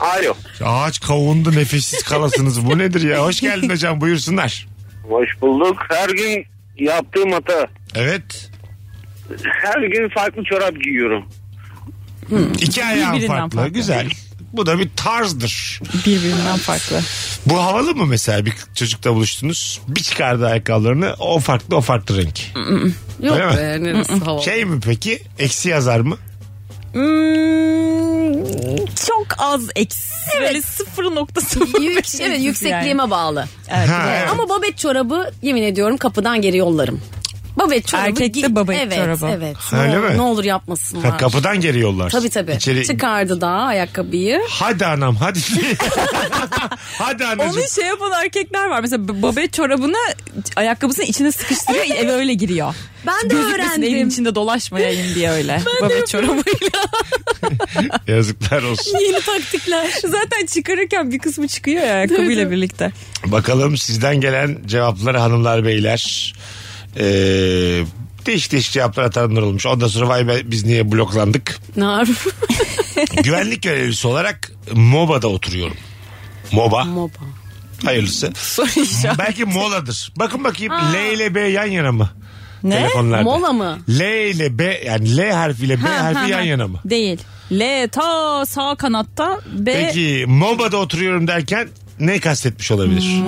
F: Alo.
C: Ağaç kavundu nefessiz kalasınız. Bu nedir ya? Hoş geldin hocam buyursunlar.
F: Hoş bulduk. Her gün yaptığım hata.
C: Evet.
F: Her gün farklı çorap giyiyorum.
C: İki ayağın
D: Birbirinden
C: farklı.
D: farklı.
C: Güzel. Bu da bir tarzdır.
D: Birbirinden farklı.
C: Bu havalı mı mesela bir çocukla buluştunuz? Bir çıkardı ayakkabılarını o farklı o farklı renk.
E: Yok
C: Öyle mi?
E: be neresi havalı.
C: Şey mi peki? Eksi yazar mı?
D: Hmm, çok az eksi. Böyle 0.0
E: Yük, evet yüksekliğime bağlı.
C: Ha, evet.
E: Ama babet çorabı yemin ediyorum kapıdan geri yollarım. Babet çorabı.
D: Erkekte
E: giy-
D: babet
E: evet,
D: çorabı.
E: Evet
C: Öyle
E: ne, ol-
C: mi?
E: ne olur yapmasınlar.
C: Ha, kapıdan geri yollar.
E: Tabii tabii.
C: İçeri...
E: Çıkardı daha ayakkabıyı.
C: Hadi anam hadi. hadi
D: Onu
C: anacığım.
D: şey yapan erkekler var. Mesela b- babet çorabını ayakkabısının içine sıkıştırıyor eve öyle giriyor.
E: Ben de
D: Gözükmesin evin
E: öğrendim.
D: içinde dolaşmayayım diye öyle. babet çorabıyla.
C: Yazıklar olsun.
E: Yeni taktikler.
D: Zaten çıkarırken bir kısmı çıkıyor ya ayakkabıyla birlikte.
C: Bakalım sizden gelen cevapları hanımlar beyler. Ee, değişik değişik cevaplar atanlar olmuş. Ondan sonra vay be biz niye bloklandık.
E: Nar.
C: Güvenlik görevlisi olarak MOBA'da oturuyorum. MOBA.
E: Moba.
C: Hayırlısı.
D: Soru işareti.
C: Belki moladır. Bakın bakayım L ile B yan yana mı?
D: Ne?
C: Telefonlarda.
E: Mola mı?
C: L ile B yani L harfiyle B
D: Ha,
C: harfi
D: ha,
C: yan
D: ha.
C: yana mı?
D: Değil. L ta sağ kanatta B
C: Peki MOBA'da oturuyorum derken ne kastetmiş olabilir?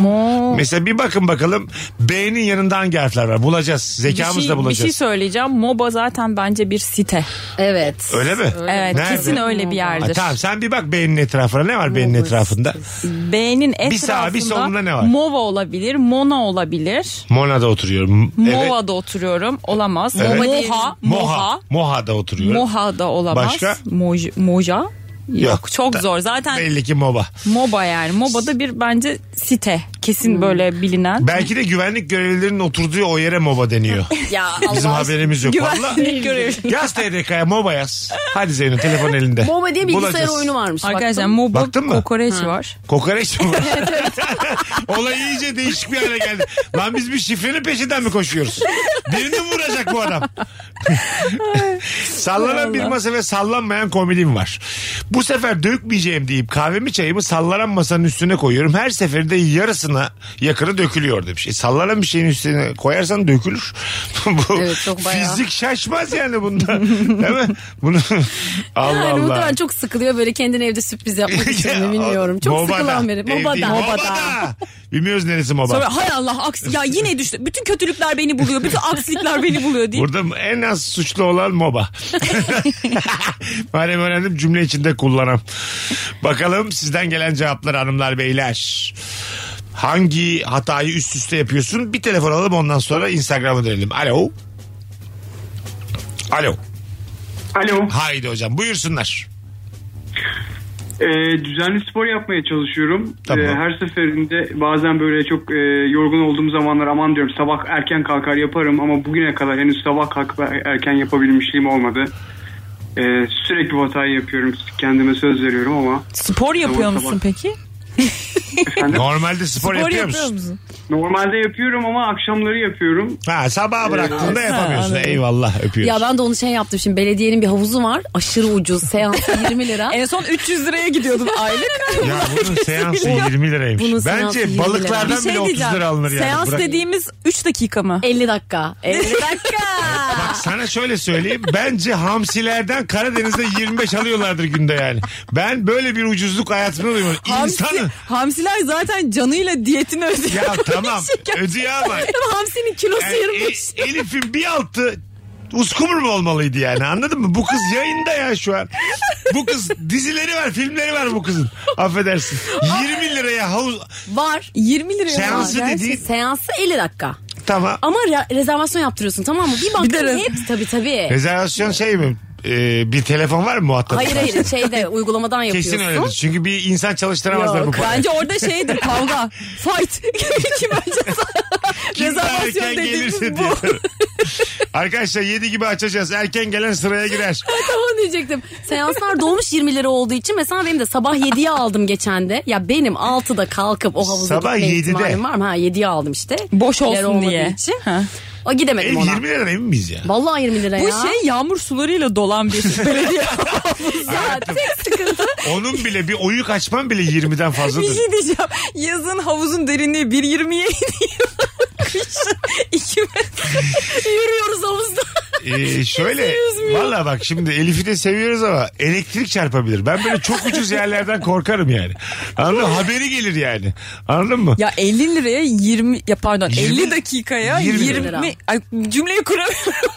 C: Mesela bir bakın bakalım B'nin yanında hangi harfler var? Bulacağız.
D: bir
C: Zekamızla
D: şey, bir şey
C: bulacağız.
D: söyleyeceğim. MOBA zaten bence bir site.
E: Evet.
C: Öyle mi?
D: Evet
C: Nerede?
D: kesin öyle bir
C: Ha,
D: yerdir.
C: tamam sen bir bak B'nin etrafına ne var B'nin etrafında?
D: B'nin etrafında
C: Bir sağa, bir solunda ne var?
D: MOVA olabilir, MONA olabilir.
C: Mona'da oturuyorum. Evet.
D: MOVA'da oturuyorum. Olamaz.
C: Evet.
D: MOVA Moha,
C: Moha.
D: Moha.
C: Moha'da oturuyorum.
D: Moha'da olamaz.
C: Başka?
D: Moj- Moja. Yok,
C: Yok.
D: çok
C: Da-
D: zor. Zaten
C: Belli ki MOBA.
D: MOBA yani. MOBA'da bir bence site. Kesin böyle bilinen.
C: Belki de güvenlik görevlilerinin oturduğu o yere MOBA deniyor.
E: Ya
C: Bizim
E: Allah
C: haberimiz yok. Valla
D: Güvenlik görevi.
C: Yaz TDK'ya MOBA yaz. Hadi Zeynep telefon elinde.
E: MOBA diye bilgisayar
C: Bulacağız.
E: oyunu varmış.
D: Arkadaşlar
E: baktım.
D: MOBA
C: Baktın mı?
D: kokoreç var.
C: Kokoreç mi var? Olay iyice değişik bir hale geldi. Lan biz bir şifrenin peşinden mi koşuyoruz? Birini mi vuracak bu adam? Sallanan bir masa ve sallanmayan komedim var. Bu sefer dökmeyeceğim deyip kahvemi çayımı sallanan masanın üstüne koyuyorum. Her seferinde yarısına yakını dökülüyor demiş. E, sallanan bir şeyin üstüne koyarsan dökülür. bu
E: Evet, çok bayağı.
C: fizik şaşmaz yani bunda. Değil mi? Bunu Allah
E: Yani
C: Allah.
E: muhtemelen çok sıkılıyor böyle kendine evde sürpriz yapmak için mi bilmiyorum. Çok
C: şey, Mobada.
E: sıkılan biri.
C: Ev değil,
E: Mobada.
C: Mobada. Bilmiyoruz neresi MOBA.
D: Sonra hay Allah aksi ya yine düştü. Bütün kötülükler beni buluyor. Bütün aksilikler beni buluyor diye.
C: Burada en az suçlu olan MOBA. Madem öğrendim cümle içinde kullanam. Bakalım sizden gelen cevaplar hanımlar beyler. Hangi hatayı üst üste yapıyorsun? Bir telefon alalım ondan sonra Instagram'a dönelim. Alo. Alo.
H: Alo.
C: Haydi hocam buyursunlar.
H: Ee, düzenli spor yapmaya çalışıyorum.
C: Tamam.
H: Ee, her seferinde bazen böyle çok e, yorgun olduğum zamanlar aman diyorum sabah erken kalkar yaparım ama bugüne kadar henüz sabah kalkıp er- erken yapabilmişliğim olmadı. Ee, sürekli bu hatayı yapıyorum. Kendime söz veriyorum ama
D: Spor yapıyor
H: Sabah
D: musun
H: sabah.
D: peki?
C: Normalde spor, yapıyor musun?
D: musun?
H: normalde yapıyorum ama akşamları yapıyorum.
C: Ha, sabaha bıraktığında yapamıyorsun. Eyvallah öpüyoruz.
E: Ya ben de onu şey yaptım şimdi belediyenin bir havuzu var aşırı ucuz seans 20 lira.
D: En son 300 liraya gidiyordum aylık.
C: Ya bunun seansı 20 liraymış.
E: Bunun seansı
C: Bence
E: 20 lira.
C: balıklardan
D: Bir şey
C: bile 30
D: diyeceğim.
C: lira alınır yani.
D: Seans
C: Bırak-
D: dediğimiz 3 dakika mı?
E: 50 dakika. 50 dakika.
C: Bak sana şöyle söyleyeyim. Bence hamsilerden Karadeniz'de 25 alıyorlardır günde yani. Ben böyle bir ucuzluk hayatımda duymadım.
D: Hamsi,
C: İnsanı...
D: hamsiler zaten canıyla diyetini ödüyor.
C: Ya tamam ödüyor ama.
E: Hamsinin kilosu
C: Yani E- Elif'in bir altı uskumur mu olmalıydı yani anladın mı? Bu kız yayında ya şu an. Bu kız dizileri var filmleri var bu kızın. Affedersin. 20 liraya havuz...
E: Var.
D: 20 liraya
C: Seansı
D: var.
C: dediğin
E: Seansı 50 dakika.
C: tamam.
E: Ama re- rezervasyon yaptırıyorsun tamam mı? Bir
D: Bir de
E: baktın
D: re-
E: hepsi tabii tabii.
C: Rezervasyon şey mi? Ee, bir telefon var mı muhatap?
E: Hayır hayır şeyde uygulamadan yapıyorsun.
C: Kesin öyledir. Çünkü bir insan çalıştıramazlar bu
E: Yok,
C: parayı.
D: Bence orada şeydir kavga. Fight. Kim önce
C: Kim daha
D: rezervasyon
C: erken
D: dediğimiz
C: gelirse
D: bu.
C: diye. Arkadaşlar 7 gibi açacağız. Erken gelen sıraya girer.
E: Tam onu diyecektim. Seanslar dolmuş 20 lira olduğu için mesela benim de sabah 7'ye aldım geçen de. Ya benim 6'da kalkıp o havuza
C: Sabah
E: gitme
C: 7'de.
E: ihtimalim var mı? Ha 7'ye aldım işte.
D: Boş
E: Yer
D: olsun
E: olmadığı
D: diye.
E: için.
D: Ha.
E: O gidemedim
C: Ev
E: ona.
C: 20 liradan emin miyiz ya?
E: Vallahi 20 lira
D: Bu
E: ya.
D: şey yağmur sularıyla dolan bir şey. belediye.
E: ya tek sıkıntı.
C: Onun bile bir oyuk açman bile 20'den
D: bir
C: fazladır.
D: şey diyeceğim. Yazın havuzun derinliği 1.20'ye iniyor. Kışın 2 metre.
E: Yürüyoruz havuzda.
C: Ee, şöyle valla bak şimdi Elif'i de seviyoruz ama elektrik çarpabilir. Ben böyle çok ucuz yerlerden korkarım yani. Anladın mı? Haberi gelir yani. Anladın mı?
D: Ya 50 liraya 20 ya pardon
C: 20
D: 50 dakikaya
C: 20
D: 20,
E: lira.
D: ay, cümleyi kuramıyorum.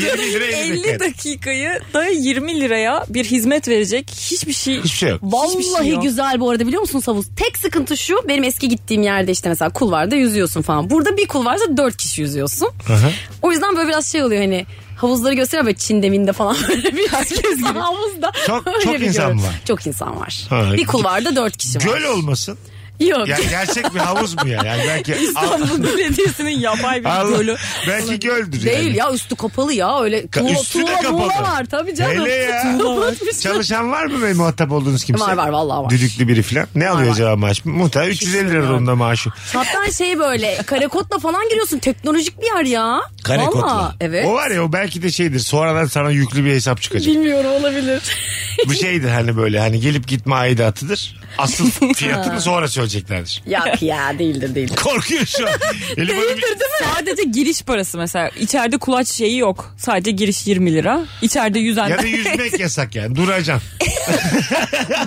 C: 20 lira 50
D: 50
C: dakika.
D: dakikayı da 20 liraya bir hizmet verecek hiçbir şey.
C: Hiçbir şey yok.
D: Hiçbir şey
E: Vallahi
D: yok.
E: güzel bu arada biliyor musunuz havuz? Tek sıkıntı şu benim eski gittiğim yerde işte mesela kulvarda yüzüyorsun falan. Burada bir kulvarda dört kişi yüzüyorsun.
C: Aha.
E: O yüzden böyle biraz şey oluyor hani havuzları gösteriyor böyle Çin'de Min'de falan böyle bir herkes gibi. Havuzda
C: Çok-
E: öyle
C: çok
E: bir
C: insan
E: görüntü.
C: var.
E: Çok insan var.
C: Ha.
E: Bir kulvarda dört kişi var.
C: Göl olmasın.
E: Yok.
C: Ya gerçek bir havuz mu ya? Yani belki
D: İstanbul Belediyesi'nin yapay
C: Al-
D: bir gölü.
C: belki Hani göldür yani.
E: Değil ya üstü kapalı ya öyle tuğla,
C: üstü de
E: tuğla, tuğla
C: kapalı.
E: var tabii canım.
C: Hele ya.
E: Tuğla var.
C: Çalışan var mı böyle muhatap olduğunuz kimse?
E: Var var vallahi var.
C: Düdüklü biri falan. Ne alıyor acaba maaş? Muhtemelen 350 lira onda maaşı.
E: Hatta şey böyle karekotla falan giriyorsun teknolojik bir yer ya.
C: Karekotla.
E: Vallahi, evet.
C: O var ya o belki de şeydir. Sonradan sana yüklü bir hesap çıkacak.
E: Bilmiyorum olabilir.
C: Bu şeydir hani böyle hani gelip gitme aidatıdır. Asıl fiyatını sonra söyleyeceklerdir.
E: ya ya değildir değildir.
C: Korkuyor şu an. Elif Hanım-
D: şey Sadece giriş parası mesela. İçeride kulaç şeyi yok. Sadece giriş 20 lira. İçeride yüzen
C: ya da yüzmek yasak yani. Duracaksın.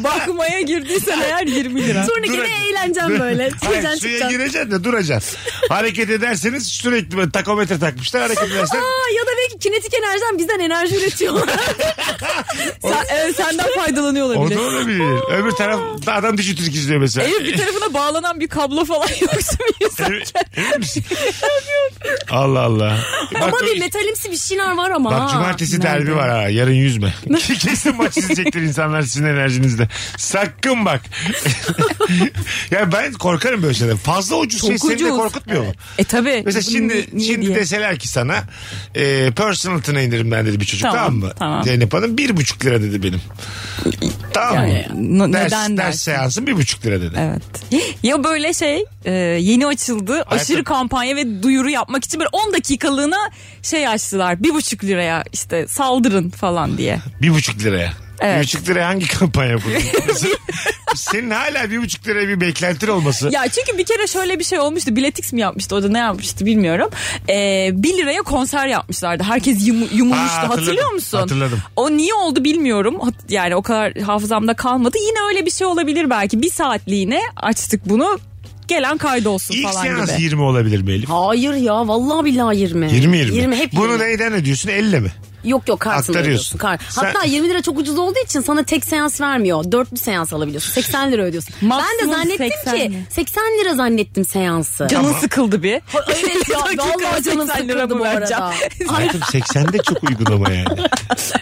D: bakmaya girdiysen eğer 20 lira.
E: Sonra
C: Dur
E: gene
C: hadi.
E: eğleneceğim böyle.
C: Hayır,
E: Çıkacaksın
C: suya
E: çıkacaksın.
C: gireceksin de duracaksın. Hareket ederseniz sürekli böyle takometre takmışlar. Hareket edersen
E: Aa, ya da belki kinetik enerjiden bizden enerji üretiyorlar.
D: Sen, evet, senden faydalanıyor
C: o da
D: olabilir.
C: olabilir. Öbür taraf da adam dişi Türk izliyor mesela.
D: Evin bir tarafına bağlanan bir kablo falan yoksa bir insan-
C: Emin- emin misin? Allah Allah.
E: ama
C: Bak,
E: bir metalimsi bir şeyler var ama.
C: Bak
E: ha.
C: cumartesi derbi var ha. Yarın yüzme. Kesin maç izleyecektir insanlar sizin enerjinizle. Sakın bak. ya ben korkarım böyle şeyden. Fazla ucuz şey seni de
D: ucuz.
C: korkutmuyor mu?
D: E tabi.
C: Mesela şimdi şimdi deseler ki sana e, personal tına indirimden dedi bir çocuk tamam,
D: Tamam,
C: mı?
D: tamam.
C: Zeynep Hanım bir buçuk lira dedi benim. tamam mı?
D: Yani, no-
C: ders,
D: neden
C: ders
D: dersin?
C: seansı bir buçuk lira dedi.
D: Evet. Ya böyle şey e, yeni açıldı aşırı kampanya ve duyuru yapmak için böyle 10 dakikalığına şey açtılar. Bir buçuk liraya işte saldırın falan diye.
C: Bir buçuk liraya.
D: Evet.
C: Bir buçuk liraya hangi kampanya bu? Senin hala bir buçuk liraya bir beklentin olması.
D: Ya çünkü bir kere şöyle bir şey olmuştu. Biletix mi yapmıştı orada ne yapmıştı bilmiyorum. Ee, 1 liraya konser yapmışlardı. Herkes yum, yumulmuştu
C: Ha, hatırladım,
D: hatırlıyor musun?
C: hatırladım.
D: O niye oldu bilmiyorum. Hat- Yani o kadar hafızamda kalmadı. Yine öyle bir şey olabilir belki. Bir saatliğine açtık bunu. Gelen kaydolsun
C: İlk
D: falan
C: seans
D: gibi.
C: 20 olabilir mi Elif?
E: Hayır ya vallahi billahi 20.
C: 20 20.
E: 20 hep
C: Bunu
E: 20.
C: neyden ödüyorsun? 50 mi?
E: Yok yok kartını
C: Aktarıyorsun.
E: ödüyorsun. Kart.
C: Sen-
E: Hatta 20 lira çok ucuz olduğu için sana tek seans vermiyor. Dörtlü seans alabiliyorsun. 80 lira ödüyorsun. ben de
D: Maksimum
E: zannettim
D: 80
E: ki
D: mi?
E: 80 lira zannettim seansı.
D: Canın sıkıldı bir.
E: Evet ya
D: Dakika
E: vallahi canım
D: 80 lira
E: sıkıldı
D: mı
E: bu
D: vereceğim?
E: arada.
C: Hayatım 80 de çok uygun ama yani.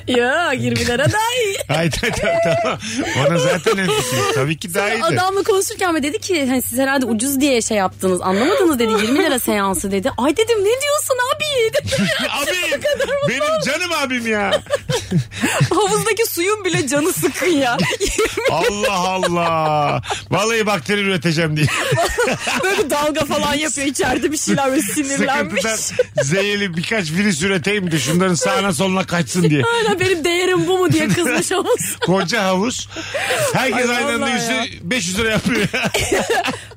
E: ya 20 lira daha iyi.
C: Hayır tamam tamam. Ona zaten hemfikir. Tabii ki daha iyidir.
E: Hani Adamla konuşurken mi dedi ki hani siz herhalde ucuz diye şey yaptınız anlamadınız dedi 20 lira seansı dedi. Ay dedim ne diyorsun abi dedim.
C: Abi benim canım abim ya.
D: Havuzdaki suyun bile canı sıkın ya.
C: Allah Allah. Vallahi bakteri üreteceğim diye.
D: böyle bir dalga falan yapıyor içeride bir şeyler böyle sinirlenmiş.
C: Sıkıntıdan zehirli birkaç virüs üreteyim de şunların sağına soluna kaçsın diye.
E: Hala benim değerim bu mu diye kızmış olsun.
C: Koca havuz. Herkes
D: Ay,
C: aynı anda
D: vallahi
C: yüzü
D: ya.
C: 500 lira yapıyor.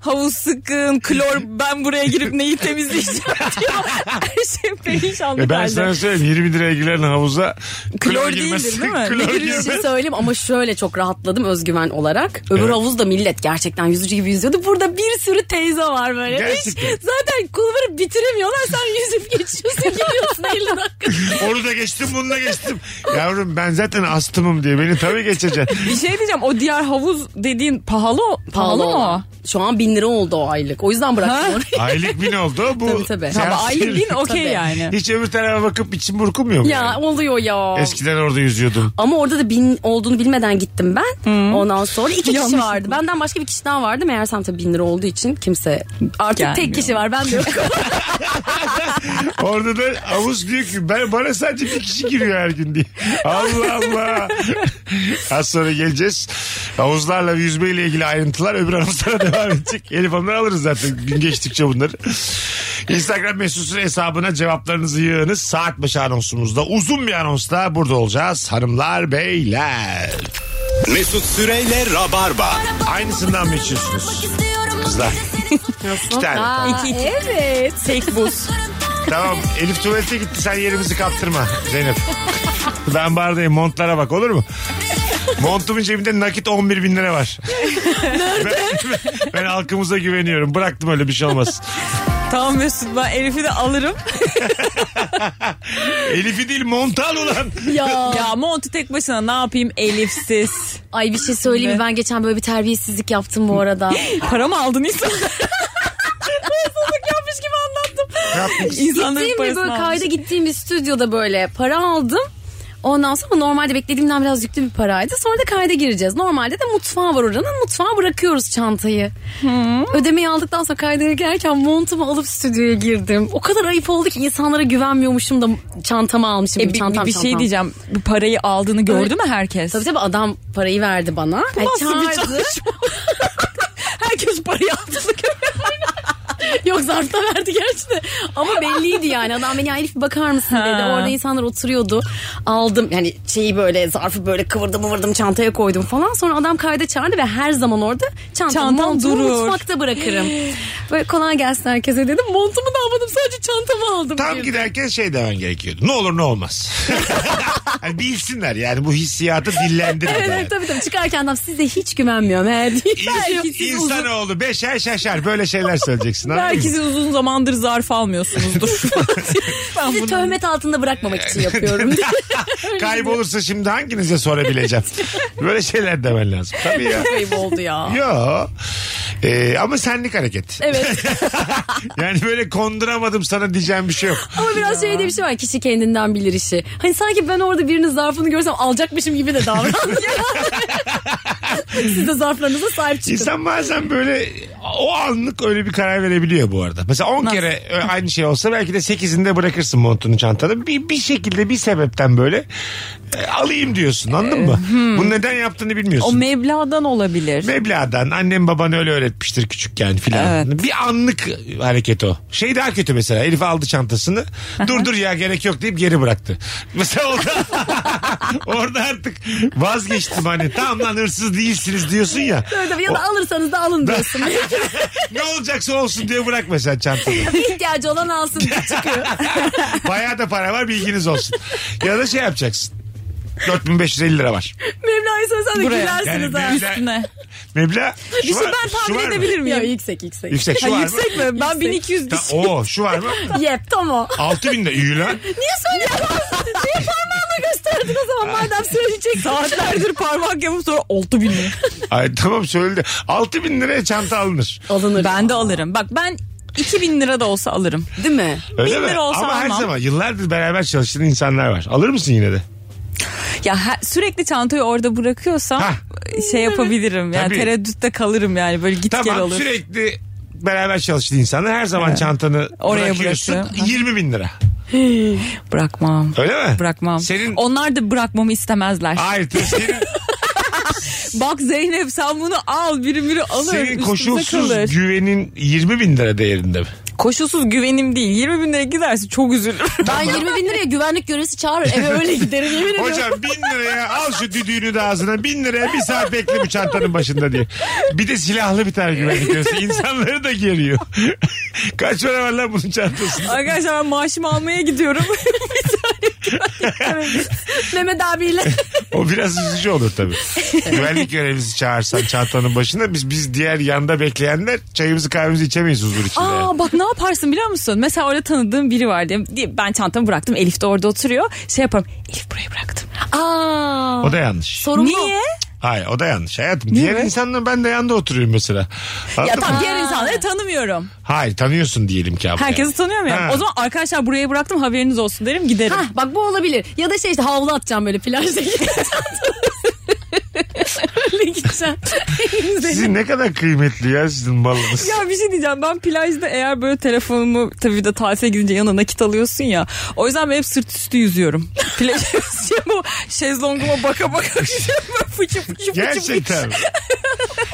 D: Havuz sıkın, klor ben buraya girip neyi temizleyeceğim diyor. Her şey
E: E
D: perişanlık
C: Ya ben
D: halde.
C: sana söyleyeyim 20 liraya giren havuza klor,
D: Klor
C: girmez.
D: değildir, değil mi?
C: Klor
D: Ne
E: Bir
C: girmez.
E: şey söyleyeyim ama şöyle çok rahatladım özgüven olarak. Öbür
C: Evet.
E: havuzda millet gerçekten yüzücü gibi yüzüyordu. Burada bir sürü teyze var böyle. Hiç
C: Gerçekten.
E: zaten kulvarı bitiremiyorlar. Sen yüzüp geçiyorsun gidiyorsun 50 dakika.
C: Onu da geçtim bunu da geçtim. Yavrum ben zaten astımım diye beni tabii geçeceksin.
D: Bir şey diyeceğim o diğer havuz dediğin pahalı o- pahalı mı o?
E: olan. Şu an 1000 lira oldu o aylık. O yüzden
D: Ha?
E: bıraktım orayı.
C: Aylık bin oldu bu.
E: Tabii, tabii.
C: seans
D: Ama aylık bin
C: değil.
D: okey
E: Tabii.
D: yani.
C: Hiç öbür tarafa bakıp içim burkumuyor mu?
E: Ya
C: yani?
E: oluyor ya.
C: Eskiden orada yüzüyordum.
E: Ama orada da bin olduğunu bilmeden gittim ben. Ondan sonra iki kişi
D: Yanlışlıkla.
E: vardı. Benden başka bir kişi daha vardı. Meğersem tabii bin lira olduğu için kimse artık
D: Gelmiyor.
E: tek kişi var. Ben de yok.
C: Orada da havuz diyor ki ben, bana sadece bir kişi giriyor her gün diye. Allah Allah. Az sonra geleceğiz. Havuzlarla ve yüzmeyle ilgili ayrıntılar öbür anonslara devam edecek. Elif Hanım'dan alırız zaten gün geçtikçe bunları. Instagram mesut Süre hesabına cevaplarınızı yığınız. Saat başı anonsumuzda uzun bir anonsla burada olacağız. Hanımlar beyler.
B: Mesut Süreyle Rabarba.
C: Aynısından mı içiyorsunuz? Kızlar. İki tane.
E: Aa,
D: İki, iki.
E: Evet.
D: Tek buz.
C: Tamam Elif tuvalete gitti sen yerimizi kaptırma Zeynep. Ben bardayım montlara bak olur mu? Montumun cebinde nakit 11 bin lira var. Ben, ben halkımıza güveniyorum. Bıraktım öyle bir şey olmaz.
D: tamam Mesut ben Elif'i de alırım.
C: Elif'i değil montu al ulan.
E: Ya.
D: ya Monty tek başına ne yapayım Elif'siz.
E: Ay bir şey söyleyeyim mi? Ben geçen böyle bir terbiyesizlik yaptım bu arada.
D: Paramı aldın insanlara. Hırsızlık yapmış gibi anlattım. İnsanların
E: gittiğim bir
D: parasını
E: böyle
D: almış.
E: kayda gittiğim bir stüdyoda böyle para aldım. Ondan sonra normalde beklediğimden biraz yüklü bir paraydı. Sonra da kayda gireceğiz. Normalde de mutfağı var oranın. Mutfağa bırakıyoruz çantayı.
D: Hmm.
E: Ödemeyi aldıktan sonra kayda girerken montumu alıp stüdyoya girdim. O kadar ayıp oldu ki insanlara güvenmiyormuşum da çantamı almışım.
D: E, bir,
E: çantam,
D: bir şey
E: çantam.
D: diyeceğim. Bu parayı aldığını gördü
E: Evet.
D: mü herkes?
E: Tabii tabii adam parayı verdi bana. E, Yani
D: Nasıl bir
E: çağırdı.
D: çalışma? Herkes parayı aldığını görüyor.
E: Yok zarfta verdi gerçi de. Ama belliydi yani. Adam beni "Ya Elif bakar mısın dedi.
D: Ha.
E: Orada insanlar oturuyordu. Aldım yani şeyi böyle zarfı böyle kıvırdım kıvırdım çantaya koydum falan. Sonra adam kayda çağırdı ve her zaman orada çantam,
D: Çantam
E: montumu
D: durur.
E: mutfakta bırakırım. böyle kolay gelsin herkese dedim. Montumu da almadım sadece çantamı aldım.
C: Tam
E: diyor.
C: giderken şey demen gerekiyordu. Ne olur ne olmaz. Hani bilsinler yani bu hissiyatı dillendirme.
E: Evet, evet tabii tabii çıkarken adam size hiç güvenmiyorum. He, diye.
C: İns- İnsanoğlu beşer şaşar böyle şeyler söyleyeceksin. anladın mı?
D: Belki siz uzun zamandır zarf almıyorsunuzdur. ben
E: Sizi
D: bunu-
E: töhmet altında bırakmamak için yapıyorum. diye.
C: Kaybolursa şimdi hanginize sorabileceğim? Böyle şeyler demen lazım. Tabii ya.
E: Ayıp oldu ya.
C: Yo. Ee, ama senlik hareket.
E: Evet
C: Yani böyle konduramadım sana diyeceğim bir şey yok.
E: ama biraz şeyde bir şey var kişi kendinden bilir işi. Hani sanki ben orada birinin zarfını görsem alacakmışım gibi de davrandı. Siz de zarflarınıza sahip çıkın.
C: İnsan bazen böyle o anlık öyle bir karar verebiliyor bu arada. Mesela 10
D: Nasıl?
C: kere ö- aynı şey olsa belki de 8'inde bırakırsın montunu çantada. Bir, bir şekilde bir sebepten böyle e, alayım diyorsun anladın mı? Bunu neden yaptığını
D: O
C: bilmiyorsun.
D: Mevla'dan olabilir.
C: Meblağdan annem baban öyle öğretmiştir küçükken filan.
D: Evet.
C: Bir anlık hareket o. Şey daha kötü mesela Elif aldı çantasını dur dur ya gerek yok deyip geri bıraktı. Mesela orada, orada artık vazgeçtim hani tamam lan hırsız değilsiniz diyorsun ya.
E: Tabii ya da alırsanız da alın diyorsun.
C: ne olacaksa olsun diye bırakma sen çantanı.
E: bir ihtiyacı olan alsın diye çıkıyor.
C: Bayağı da para var bilginiz olsun. Ya da şey yapacaksın. 4550 lira var.
E: Mevla'yı söylesen de
D: Buraya.
E: gülersiniz
C: Yani
E: ha.
C: Mevla-
D: Üstüne.
C: Meblağ şu
D: Bir şey
C: var-
D: ben
C: şu var
D: tahmin
C: mı?
D: edebilir
E: Ya
D: miyim?
E: yüksek yüksek.
C: Yüksek şu
D: Ha,
C: var mı?
D: yüksek mi? Ben 1200
C: Ta- Oo şu var mı?
E: Yep tam o.
C: 6000 de iyi lan.
E: Niye söylüyorsun? Niye parmağını gösterdin o zaman madem söyleyecek.
D: saatlerdir parmak yapıp sonra oldu bin lira.
C: Ay tamam söyledi. 6000 liraya çanta alınır.
E: Alınır.
D: Ben de alırım. Bak ben 2000 lira da olsa alırım.
E: Değil mi?
C: Öyle
D: Bin
C: mi?
D: lira olsa
C: Ama her
D: almam.
C: zaman yıllardır beraber çalıştığın insanlar var. Alır mısın yine de?
D: Ya her- sürekli çantayı orada bırakıyorsam
C: Hah.
D: şey yapabilirim. Yani
C: Tabii.
D: tereddütte kalırım yani böyle git gel
C: Tamam
D: olur.
C: sürekli beraber çalıştığın insanlar her zaman çantanı
D: Oraya
C: bırakıyorsun.
D: bırakıyorum.
C: 20 bin lira.
D: Bırakmam.
C: Öyle mi?
D: Bırakmam.
C: Senin...
D: Onlar da bırakmamı istemezler.
C: Hayır tabii senin,
D: Bak Zeynep sen bunu al biri biri alır.
C: senin
D: üstümüze
C: Şey, koşulsuz
D: kalır.
C: güvenin 20 bin lira değerinde mi?
D: koşulsuz güvenim değil. 20 bin lira giderse çok üzülürüm.
E: Ben 20 bin liraya güvenlik görevlisi çağırır. Eve öyle giderim yemin ediyorum.
C: Hocam bin liraya al şu düdüğünü de ağzına bin liraya bir saat bekle bu çantanın başında diye. Bir de silahlı bir tane güvenlik görevlisi. İnsanları da geriyor. Kaç para var lan bunun çantasında?
D: Arkadaşlar ben maaşımı almaya gidiyorum.
E: Mehmet abiyle.
C: O biraz üzücü olur tabii. güvenlik görevlisi çağırsan çantanın başına biz biz diğer yanda bekleyenler çayımızı kahvemizi içemeyiz huzur içinde. yani.
D: Aa bak ne yaparsın biliyor musun? Mesela orada tanıdığım biri var diye. diye Ben çantamı bıraktım. Elif de orada oturuyor. Şey yaparım. Elif buraya bıraktım.
E: Aa.
C: O da yanlış.
E: Sorumlu.
D: Niye?
C: Hayır o da yanlış. Hayatım diğer insanla ben de yanda oturuyorum mesela.
D: Ya
C: Anladın mı?
D: tam diğer insanları tanımıyorum.
C: Hayır tanıyorsun diyelim ki abla.
D: Herkesi
C: yani.
D: tanıyor muyum?
C: Ha.
D: O zaman arkadaşlar buraya bıraktım haberiniz olsun derim giderim.
E: Hah, bak bu olabilir. Ya da şey işte havlu atacağım böyle plajda. Öyle gideceğim.
C: Sizin ne kadar kıymetli ya sizin malınız.
D: Ya bir şey diyeceğim ben plajda eğer böyle telefonumu tabii bir de tatile gidince yanına nakit alıyorsun ya. O yüzden ben hep sırt üstü yüzüyorum. Plajda yüzeceğim o şezlonguma baka baka yüzüyorum. Böyle Fıçı fıçı fıçı fıçı.
C: Gerçekten.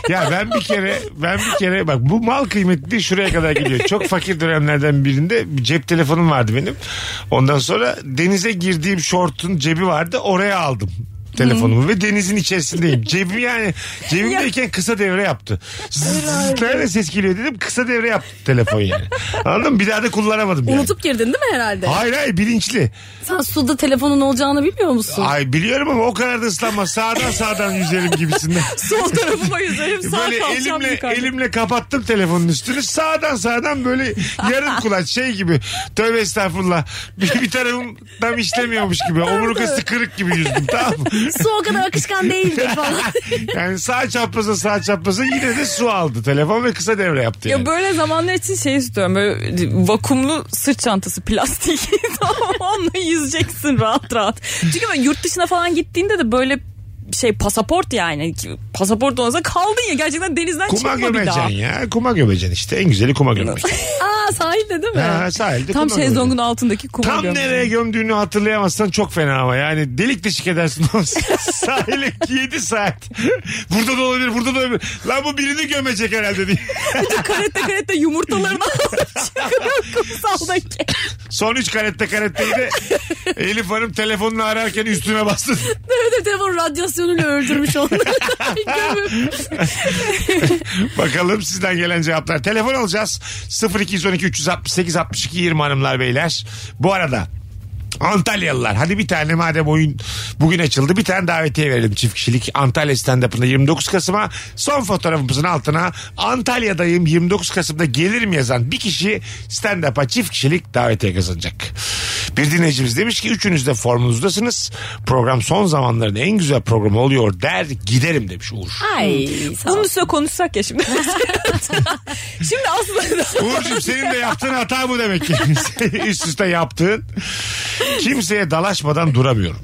C: ya ben bir kere ben bir kere bak bu mal kıymetli şuraya kadar gidiyor. Çok fakir dönemlerden birinde bir cep telefonum vardı benim. Ondan sonra denize girdiğim şortun cebi vardı oraya aldım telefonumu ve denizin içerisindeyim. Cebim yani cebimdeyken kısa devre yaptı. Zzz, Nerede ses geliyor dedim kısa devre yaptı telefon yani. Anladın mı? Bir daha da kullanamadım yani.
E: Unutup girdin değil mi herhalde?
C: Hayır hayır bilinçli.
E: Sen suda telefonun olacağını bilmiyor musun?
C: Ay biliyorum ama o kadar da ıslanma. Sağdan sağdan yüzerim gibisinden.
D: Sol tarafıma yüzerim sağ
C: E, böyle
D: kalçam
C: elimle
D: yukarıda.
C: elimle kapattım telefonun üstünü. Sağdan sağdan böyle yarım kulaç şey gibi. Tövbe estağfurullah. Bir, bir tarafım tam işlemiyormuş gibi. Omurgası kırık gibi yüzdüm tamam mı?
E: Su o kadar akışkan değildi falan.
C: Yani sağ çapraza sağ çapraza yine de su aldı telefon ve kısa devre yaptı yani.
D: Ya böyle zamanlar için şey istiyorum böyle vakumlu sırt çantası plastik tamam onunla yüzeceksin rahat rahat. Çünkü böyle yurt dışına falan gittiğinde de böyle şey pasaport yani pasaport olmasa kaldın ya gerçekten denizden
C: Kuma
D: çıkma bir daha.
C: gömeceksin ya. Kuma gömeceksin işte. En güzeli kuma gömmek.
E: Aa sahilde değil mi?
C: ha, sahilde
D: Tam
C: kuma gömeceksin.
D: şezlongun altındaki kuma
C: Tam
D: gömeceksin.
C: nereye gömdüğünü hatırlayamazsan çok fena ama yani delik deşik edersin oğlum. Sahile 7 saat. Burada da olabilir burada da olabilir. Lan bu birini gömecek herhalde diye.
D: karette karette yumurtalarını alıp çıkıyor kumsaldaki.
C: Son 3 karette karetteyi de Elif Hanım telefonla ararken üstüne bastı.
E: Evet evet, telefon radyasyonuyla öldürmüş onları. Gömüp.
C: Bakalım sizden gelen cevaplar. Telefon alacağız. 0212 368 62 20 hanımlar beyler. Bu arada Antalyalılar hadi bir tane madem oyun bugün açıldı bir tane davetiye verelim çift kişilik Antalya stand-up'ında 29 Kasım'a son fotoğrafımızın altına Antalya'dayım 29 Kasım'da gelirim yazan bir kişi stand-up'a çift kişilik davetiye kazanacak. Bir dinleyicimiz demiş ki üçünüz de formunuzdasınız program son zamanların en güzel programı oluyor der giderim demiş Uğur.
E: Ay sağ
D: Bunun
E: ol.
D: üstüne konuşsak ya şimdi. şimdi aslında
C: Uğurcuğum senin de yaptığın hata bu demek ki. Üst üste yaptığın. Kimseye dalaşmadan duramıyorum.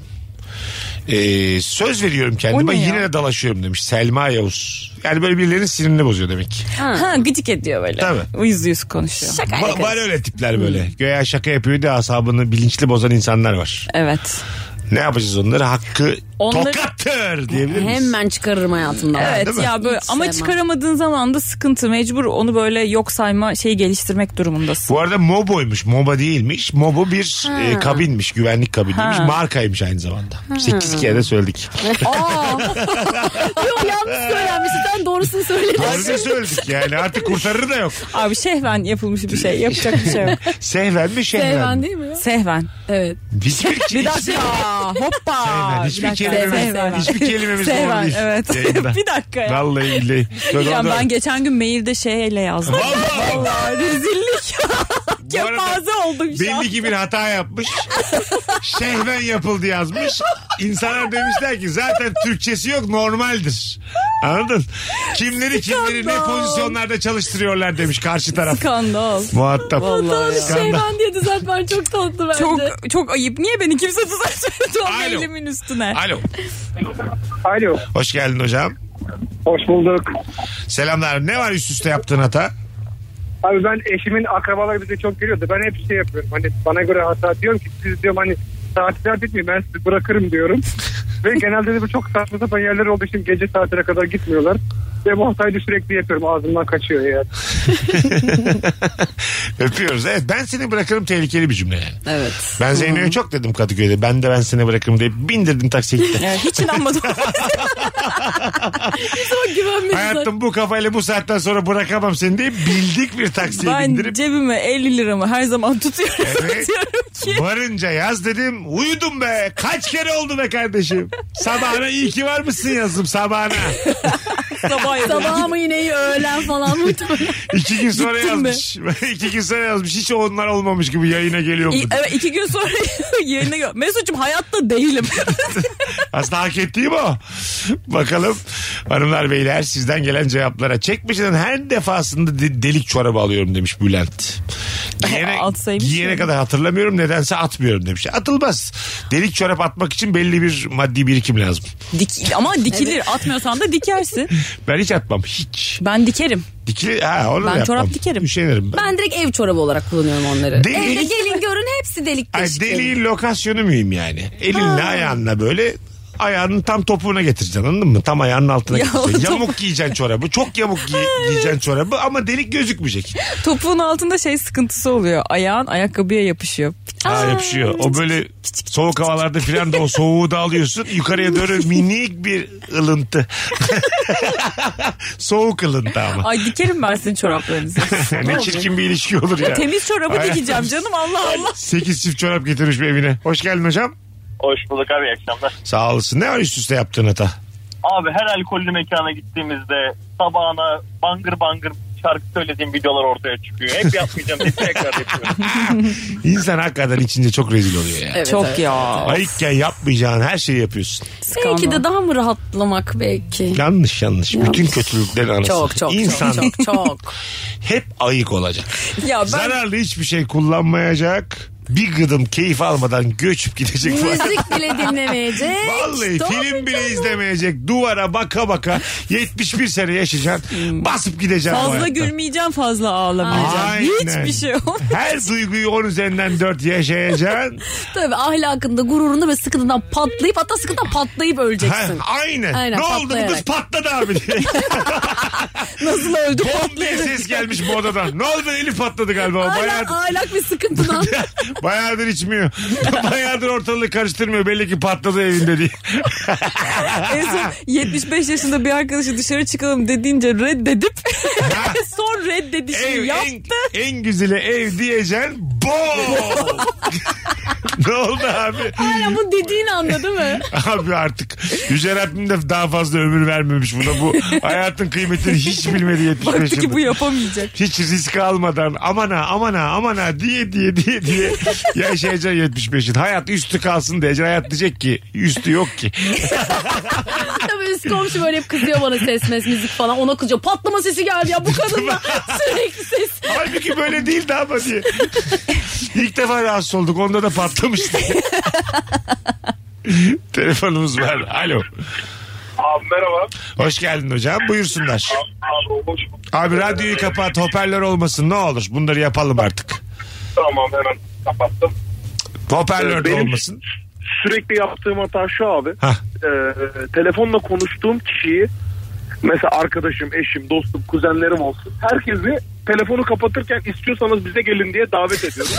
C: Ee, söz veriyorum
D: O
C: kendime
D: ne ya?
C: yine de dalaşıyorum demiş Selma Yavuz. Yani böyle birilerinin sinirini bozuyor demek.
D: ha, gıcık ediyor böyle.
C: Tabii.
D: Yüz yüz konuşuyor.
C: Va- var öyle
D: Hmm.
C: tipler böyle. Göya şaka yapıyor diye asabını bilinçli bozan insanlar var.
D: Evet.
C: Ne yapacağız onları? Hakkı
D: Onları-
C: tokattır diyebilir miyiz?
E: Hemen çıkarırım hayatımdan.
D: Evet
C: değil mi?
D: ya böyle
E: Hiç
D: ama
E: sevmem.
D: çıkaramadığın zaman da sıkıntı mecbur onu böyle yok sayma şeyi geliştirmek durumundasın.
C: Bu arada MOBO'ymuş. MOBA değilmiş. MOBO bir e, kabinmiş. Güvenlik kabiniymiş.
D: Ha.
C: Markaymış aynı zamanda. 8 kere de söyledik.
E: Yok yanlış söylenmişsin. Ben doğrusunu söyledim.
C: Doğru söyledik yani. Artık kurtarır da yok.
D: Abi şehven yapılmış bir şey yapacak bir şey yok.
C: Sehven mi şehven?
E: Seyvan
C: mi?
E: değil mi? ya?
D: Sehven.
E: Evet.
C: Hiçbir,
D: Bir
C: hiç-
D: dakika. Hoppa.
C: Sehven.
D: Bir
C: Hiçbir
D: dakika.
C: kelimemiz,
D: Sehven.
C: hiçbir kelimemiz doğru
D: Sehven,
C: değil.
D: evet.
C: Yayında.
D: Bir dakika ya.
C: Vallahi billahi. Doğru,
D: Ya
C: doğru.
D: ben geçen gün mailde şeyle yazdım.
C: Vallahi.
D: Vallahi rezillik.
C: Bu arada
D: Kepaze oldum şu an.
C: Belli ki bir hata yapmış. Şehven yapıldı yazmış. İnsanlar demişler ki zaten Türkçesi yok normaldir. Anladın? Kimleri kimleri ne
D: Skandal.
C: pozisyonlarda çalıştırıyorlar demiş karşı taraf.
D: Skandal.
C: Muhatap. Skandal.
E: Seyvan şey diye düzeltmen çok tatlı bence.
D: Çok çok ayıp. Niye beni kimse düzeltmedi o
C: Alo.
D: mailimin üstüne?
C: Alo.
I: Alo.
C: Hoş geldin hocam.
I: Hoş bulduk.
C: Selamlar. Ne var üst üste yaptığın hata?
I: Abi ben eşimin akrabaları bize çok geliyordu. Ben hep şey yapıyorum. Hani bana göre hata diyorum ki siz diyorum hani saati dert etmeyin ben sizi bırakırım diyorum. Ve genelde de bu çok saçma sapan yerler olduğu için gece saatine kadar gitmiyorlar. Ve bu hatayı da sürekli yapıyorum. Ağzımdan kaçıyor ya.
C: Öpüyoruz. Evet ben seni bırakırım tehlikeli bir cümle yani.
E: Evet.
C: Ben Zeyno'ya çok dedim Kadıköy'de. Ben de ben seni bırakırım deyip bindirdim taksiye gittim.
D: Evet, hiç inanmadım.
E: Çok güvenmedim.
C: Hayatım bu kafayla bu saatten sonra bırakamam seni deyip bildik bir taksiye
D: ben
C: bindirip
D: cebime 50 liramı her zaman tutuyorum.
C: Evet.
D: Diyorum ki
C: varınca yaz dedim. Uyudum be. Kaç kere oldu be kardeşim. Sabahına iyi ki var mısın yazdım sabahına.
D: sabah yapıyorum.
E: Sabah mı yine iyi, öğlen falan mı?
C: İki gün sonra
D: Gittin mi?
C: yazmış. İki gün sonra yazmış. Hiç onlar olmamış gibi yayına geliyor.
D: İ- Evet iki gün sonra yerine gö- Mesut'cum hayatta değilim.
C: Aslında hak ettiğim o. Bakalım hanımlar beyler sizden gelen cevaplara. Çekmeceden her defasında de- delik çorabı alıyorum demiş Bülent. Giyene,
D: Atsaymış
C: giyene
D: yani.
C: kadar hatırlamıyorum nedense atmıyorum demiş. Atılmaz. Delik çorap atmak için belli bir maddi birikim lazım.
D: Dik, ama dikilir. Atmıyorsan da dikersin.
C: Ben hiç atmam hiç.
D: Ben dikerim.
C: Dikili, ha, onu
D: Ben
C: da yapmam.
D: çorap dikerim.
C: Üşenirim ben.
E: Ben direkt ev çorabı olarak kullanıyorum onları.
C: Delik-
E: Evde gelin görün hepsi delik
C: Ay,
E: deşik.
C: deliğin lokasyonu mühim yani. Elinle ayağınla böyle ayağının tam topuğuna getireceksin anladın mı? Tam ayağının altına
D: Ya,
C: getireceksin.
D: o top-
C: Yamuk giyeceksin çorabı. Çok yamuk giy- giyeceksin çorabı ama delik gözükmeyecek.
D: Topuğun altında şey sıkıntısı oluyor. Ayağın ayakkabıya yapışıyor.
C: Aa, yapışıyor. O böyle soğuk havalarda filan da o soğuğu da alıyorsun. Yukarıya doğru minik bir ılıntı. soğuk ılıntı ama.
D: Ay dikerim ben sizin çoraplarınızı.
C: ne çirkin bir ilişki olur ya.
D: Temiz çorabı
C: Ay-
D: dikeceğim canım Allah Allah.
C: Sekiz çift çorap getirmiş bir evine. Hoş geldin hocam.
F: Hoş bulduk abi iyi akşamlar.
C: Sağ olasın. Ne var üst üste yaptığın hata?
F: Abi her alkollü mekana gittiğimizde sabahına bangır bangır şarkı söylediğim videolar ortaya çıkıyor. Hep yapmayacağım hep tekrar yapıyorum.
C: İnsan hakikaten içince çok rezil oluyor ya.
E: Evet,
D: Çok
E: evet.
D: ya.
C: Ayıkken yapmayacağın her şeyi yapıyorsun.
E: Belki
D: Skandal.
E: de daha mı rahatlamak belki?
C: Yanlış yanlış. Bütün kötülüklerin anası.
E: Çok çok
C: İnsan
E: çok çok çok.
C: hep ayık olacak.
D: Ya ben
C: Zararlı hiçbir şey kullanmayacak. Bir gıdım keyif almadan göçüp gidecek. bu hayat.
E: Müzik bile dinlemeyecek.
C: Vallahi
E: Doğru.
C: film bile izlemeyecek. Duvara baka baka 71 sene
E: Hmm.
C: yaşayacaksın. Basıp gideceksin. bu
D: fazla
C: hayatta.
D: gülmeyeceğim fazla ağlamayacağım.
C: Aynen.
D: Hiçbir şey olmaz.
C: Her duyguyu 10 üzerinden 4 yaşayacaksın.
E: Tabii ahlakında, gururunda ve sıkıntıdan patlayıp hatta sıkıntıdan patlayıp
C: Ha,
E: öleceksin.
C: aynen.
E: Aynen,
C: Ne oldu bu kız
E: patlayarak.
C: patladı abi diye.
D: Nasıl öldü
C: Bom diye
D: patlayarak.
C: ses gelmiş bu odadan. Ne oldu eli patladı galiba. Bayağıdır,
E: Ahlak, ahlak ve sıkıntıdan.
C: bayağıdır içmiyor. bayağıdır ortalığı karıştırmıyor. Belli ki patladı evinde diye.
D: En son 75 yaşında bir arkadaşı dışarı çıkalım dediğince reddedip son reddedişini
C: Ev en,
D: yaptı.
C: en güzeli ev diyeceksin. Bom! ne oldu abi?
E: Hala bu dediğini anladı mı?
C: Abi artık Yüce Rabbim de daha fazla ömür vermemiş buna. Bu hayatın kıymetini hiç bilmedi 75
D: Baktı ki
C: yaşında.
D: bu yapamayacak.
C: Hiç risk almadan aman ha aman ha aman ha diye diye diye diye yaşayacaksın 75'in. Hayat üstü kalsın diyeceksin. Hayat diyecek ki üstü yok ki.
E: Tabii üst komşu böyle hep kızıyor bana ses mes müzik falan. Ona kızıyor. Patlama sesi geldi ya bu kadınla sürekli ses.
C: Halbuki böyle değildi ama diye. İlk defa rahatsız olduk. Onda da patlamıştı. Telefonumuz var. Alo.
F: abi merhaba.
C: Hoş geldin hocam. Buyursunlar.
F: Abi hoş
C: Abi radyoyu kapat. Hoparlör olmasın. Ne olur. Bunları yapalım artık.
F: Tamam hemen kapattım.
C: Hoparlör de
F: Benim-
C: olmasın.
F: Sürekli yaptığım hata şu abi.
C: Hah.
F: Ee, telefonla konuştuğum kişiyi mesela arkadaşım, eşim, dostum, kuzenlerim olsun. Herkesi telefonu kapatırken istiyorsanız bize gelin diye davet ediyorum.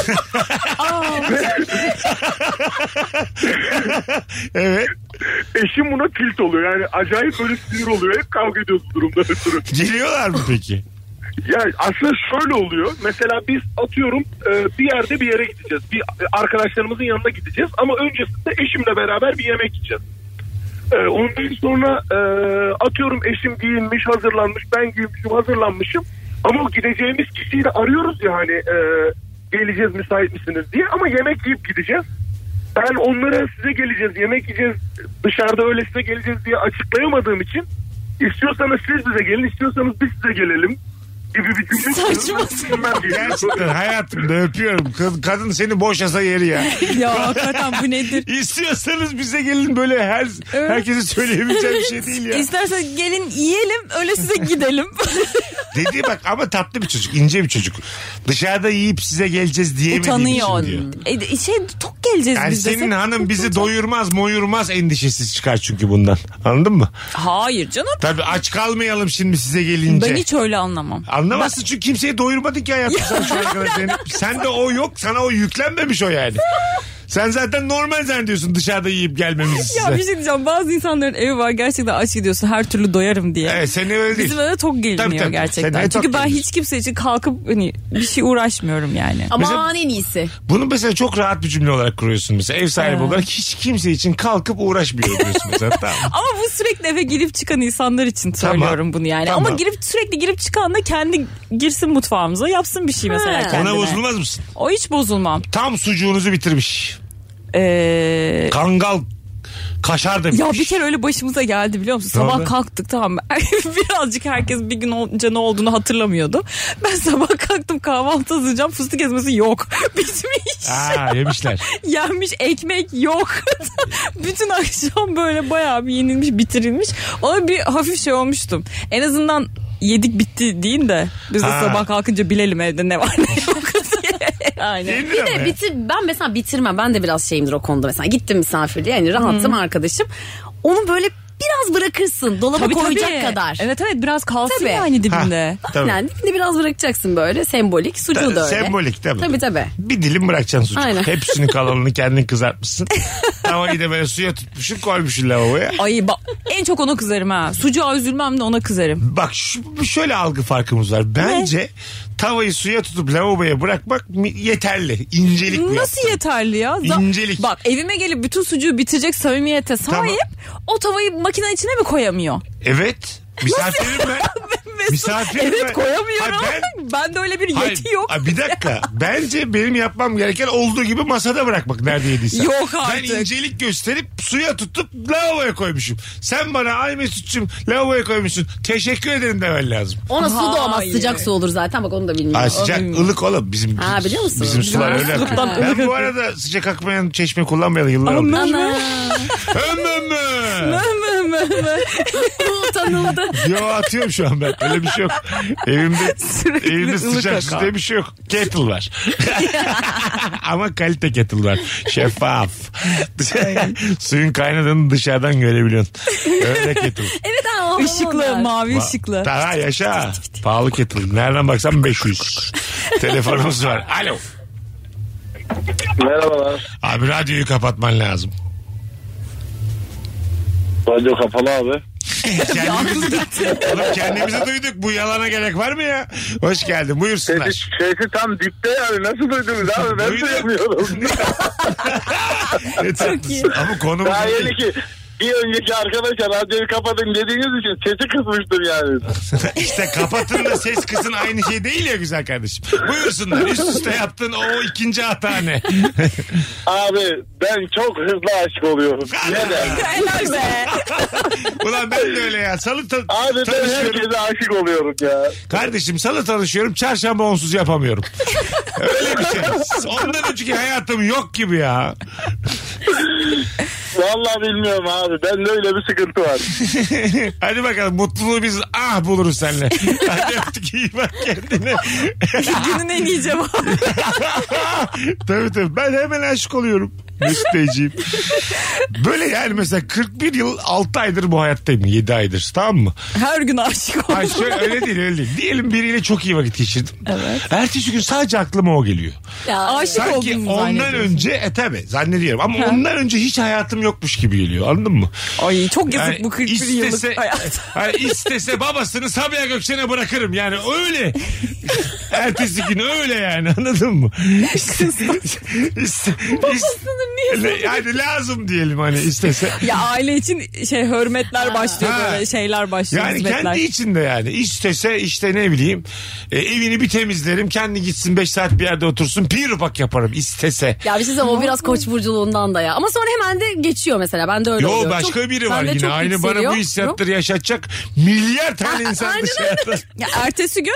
C: Evet.
F: Eşim buna tilt oluyor. Yani acayip böyle sinir oluyor. Hep kavga ediyoruz bu durumda ötürü.
C: Geliyorlar mı peki?
F: Yani aslında şöyle oluyor. Mesela biz atıyorum e, bir yerde bir yere gideceğiz. Bir e, arkadaşlarımızın yanına gideceğiz. Ama öncesinde eşimle beraber bir yemek yiyeceğiz. E, Ondan sonra e, atıyorum eşim giyinmiş, hazırlanmış. Ben giyinmişim, hazırlanmışım. Ama o gideceğimiz kişiyi de arıyoruz ya hani e, geleceğiz müsait misiniz diye. Ama yemek yiyip gideceğiz. Ben onlara size geleceğiz, yemek yiyeceğiz, dışarıda öyle size geleceğiz diye açıklayamadığım için istiyorsanız siz bize gelin, istiyorsanız biz size gelelim gibi bir cümle
D: Saçma
F: kurdum. Ben de-
C: Gerçekten hayatımda öpüyorum. Kad- Kadın seni boşasa yeri ya.
D: Ya hakikaten bu nedir?
C: İstiyorsanız bize gelin böyle her
D: Evet.
C: herkese söyleyebileceğim bir şey değil ya.
D: İsterseniz gelin yiyelim öyle size gidelim.
C: Dedi bak ama tatlı bir çocuk, ince bir çocuk. Dışarıda yiyip size geleceğiz diyemediğim için
D: Utanıyor.
C: diyor.
D: E, şey tok geleceğiz
C: Yani
D: biz de.
C: senin
D: Sen-
C: hanım bizi doyurmaz, moyurmaz endişesi çıkar çünkü bundan. Anladın mı?
D: Hayır canım.
C: Tabii aç kalmayalım şimdi size gelince.
D: Ben hiç öyle anlamam.
C: Anlamazsın çünkü kimseyi doyurmadın ki hayatım sen şu ana kadar. Senin- Sende o yok, sana o yüklenmemiş o yani. Sen zaten normal zannediyorsun dışarıda yiyip gelmemizi
D: Ya bir
C: size.
D: şey diyeceğim bazı insanların evi var gerçekten aç gidiyorsun her türlü doyarım diye.
C: Evet, seni öyle değil.
D: Bizim öyle tok geliniyor
C: Tabii, tabii. Sen
D: gerçekten.
C: ne
D: Çünkü
C: tok
D: ben
C: geliniyorsun?
D: hiç kimse için kalkıp hani bir şey uğraşmıyorum yani.
E: Aman en iyisi.
C: Bunu mesela çok rahat bir cümle olarak kuruyorsun mesela. Ev sahibi olarak hiç kimse için kalkıp uğraşmıyor diyorsun mesela. Tamam.
D: Ama bu sürekli eve girip çıkan insanlar için söylüyorum bunu yani.
C: Tamam.
D: Ama girip sürekli girip çıkan da kendi girsin mutfağımıza yapsın bir şey mesela
E: Ha.
D: kendine.
C: Ona bozulmaz mısın?
D: O hiç bozulmam.
C: Tam sucuğunuzu bitirmiş.
D: Ee,
C: Kangal Kaşar demiş.
D: Ya bir kere öyle başımıza geldi biliyor musun?
C: Ne
D: Sabah
C: oldu?
D: kalktık tamam mı? Birazcık herkes bir gün önce ne olduğunu hatırlamıyordu. Ben sabah kalktım kahvaltı hazırlayacağım. Fıstık ezmesi yok. Bitmiş.
C: Aa, yemişler.
D: Yenmiş ekmek yok. Bütün akşam böyle bayağı bir yenilmiş bitirilmiş. Ona bir hafif şey olmuştum. En azından yedik bitti deyin de biz de
C: Ha.
D: sabah kalkınca bilelim evde ne var ne yok diye. Aynen.
C: Yenir ama
E: Bir
C: ya.
E: de bitir, ben mesela bitirmem. Ben de biraz şeyimdir o konuda mesela. Gittim misafirliğe yani rahatım arkadaşım. Onu böyle biraz bırakırsın. Dolaba koyacak
D: tabii.
E: kadar.
D: Evet evet biraz kalsın
E: Tabii.
D: yani dibinde.
C: Ha, tabii.
E: Aynen dibini biraz bırakacaksın böyle sembolik. Sucuğu da öyle.
C: Sembolik tabii.
E: Tabii tabii.
C: Bir dilim bırakacaksın sucuk.
E: Aynen.
C: Hepsinin kalanını kendin kızartmışsın. Tavayı da böyle suya tutmuşsun koymuşsun lavaboya.
D: Ay bak en çok ona kızarım ha. Sucuğa üzülmem de ona kızarım.
C: Bak şu, şöyle algı farkımız var. Bence tavayı suya tutup lavaboya bırakmak mi- yeterli. İncelik bu
D: Nasıl
C: yaptığın.
D: yeterli ya? Za-
C: İncelik.
D: Bak evime gelip bütün sucuğu bitirecek samimiyete
C: Tamam.
D: sahip o tavayı makinenin içine mi koyamıyor?
C: Evet. Misafirim ben.
D: Mesut,
C: Misafir
D: evet
C: mi?
D: koyamıyorum.
C: Hayır,
D: ben... de öyle bir yeti
C: Hayır,
D: yok.
C: ay bir dakika. Bence benim yapmam gereken olduğu gibi masada bırakmak nerede yediysen.
D: Yok artık.
C: Ben incelik gösterip suya tutup lavaboya koymuşum. Sen bana ay Mesut'cum lavaboya koymuşsun. Teşekkür ederim demen lazım.
E: Ona su da olmaz.
D: Hayır.
E: Sıcak su olur zaten. Bak onu da bilmiyorum.
C: Ay sıcak ılık oğlum bizim
E: Ha, biliyor musun?
C: bizim sular öyle. akıyor.
D: ılıktan ılık
C: Ben bu
D: akıyor.
C: arada sıcak akmayan çeşme kullanmayalı yıllar oldu.
E: Ana.
C: Ömüm mü?
D: Mı, mı, mı?
E: Tanıldı.
C: Yo atıyorum şu an ben. Öyle bir şey yok. Evimde,
D: Sürekli
C: evimde
D: ılık
C: sıcak su
D: akan.
C: diye bir şey yok. Kettle var. Ama kalite kettle var. Şeffaf. Suyun kaynadığını dışarıdan görebiliyorsun. Öyle kettle.
E: Evet ha. o-
D: Işıklı
E: onlar.
D: mavi
C: Va-
D: ışıklı.
C: Daha yaşa. Pahalı kettle. Nereden baksan 500. Telefonumuz var. Alo.
F: Merhabalar.
C: Abi radyoyu kapatman lazım.
F: Radyo kapalı abi.
C: Kendimizi, Oğlum kendimizi duyduk. Bu yalana gerek var mı ya? Hoş geldin. Buyursunlar.
F: sesi tam dipte yani. Nasıl duydunuz abi?
C: Ben Duydum.
F: duyamıyorum.
C: Ne tatlısın. Ama konumuz
F: Daha
C: o değil.
F: yeni ki bir önceki arkadaşa radyoyu kapatın dediğiniz için sesi kısmıştım yani.
C: işte kapatın da ses kısın aynı şey değil ya güzel kardeşim. Buyursunlar. Üst üste yaptın o ikinci hata ne?
F: Abi ben çok hızlı aşık oluyorum. Neden?
D: Helal be.
C: Ulan ben de öyle ya. Salı ta-
F: Abi ben
C: tanışıyorum.
F: herkese aşık oluyorum ya.
C: Kardeşim salı tanışıyorum. Çarşamba onsuz yapamıyorum. öyle bir şey. Ondan önceki hayatım yok gibi ya.
F: Vallahi bilmiyorum abi. Bende öyle bir sıkıntı var.
C: Hadi bakalım mutluluğu biz ah buluruz seninle. Hadi öptük iyi bak kendine.
D: Günün en iyi cevabı.
C: tabii tabii ben hemen aşık oluyorum. Mesut Beyciğim. Böyle yani mesela 41 yıl 6 aydır bu hayattayım. 7 aydır tamam mı?
D: Her gün aşık
C: Ay
D: oldum.
C: şöyle öyle değil öyle değil. Diyelim biriyle çok iyi vakit geçirdim. Ertesi gün sadece aklıma o geliyor.
E: Ya,
D: Aşık
C: Sanki
D: olduğumu
C: ondan
D: zannediyorsun.
C: önce e tabi zannediyorum ama ondan önce hiç hayatım yokmuş gibi geliyor anladın mı?
D: Ay çok yazık
C: Yani
D: bu 41
C: istese,
D: yıllık hayat.
C: Hani istese babasını Sabiha Gökçen'e bırakırım yani öyle. Ertesi gün öyle yani anladın mı? babasını niye? Yani lazım diyelim hani istese.
D: Ya aile için şey hürmetler başlıyor
C: Ha.
D: böyle şeyler başlıyor
C: Yani
D: hizmetler.
C: kendi içinde yani. İstese işte ne bileyim e, evini bir temizlerim. Kendi gitsin 5 saat bir yerde otursun. Bir ufak yaparım istese.
E: ya bir şey söyleyeyim, o biraz koç burculuğundan da ya. Ama sonra hemen de geçiyor mesela. Ben de öyle
C: Yo
E: oluyor.
C: başka
E: Çok-
C: biri var
E: bende
C: yine.
E: çok
C: Aynı bana bu
E: yükseliyor.
C: hissiyatları yaşatacak milyar tane
E: Aa,
C: insan
E: aynen
C: dışarıda.
D: Ya ertesi gün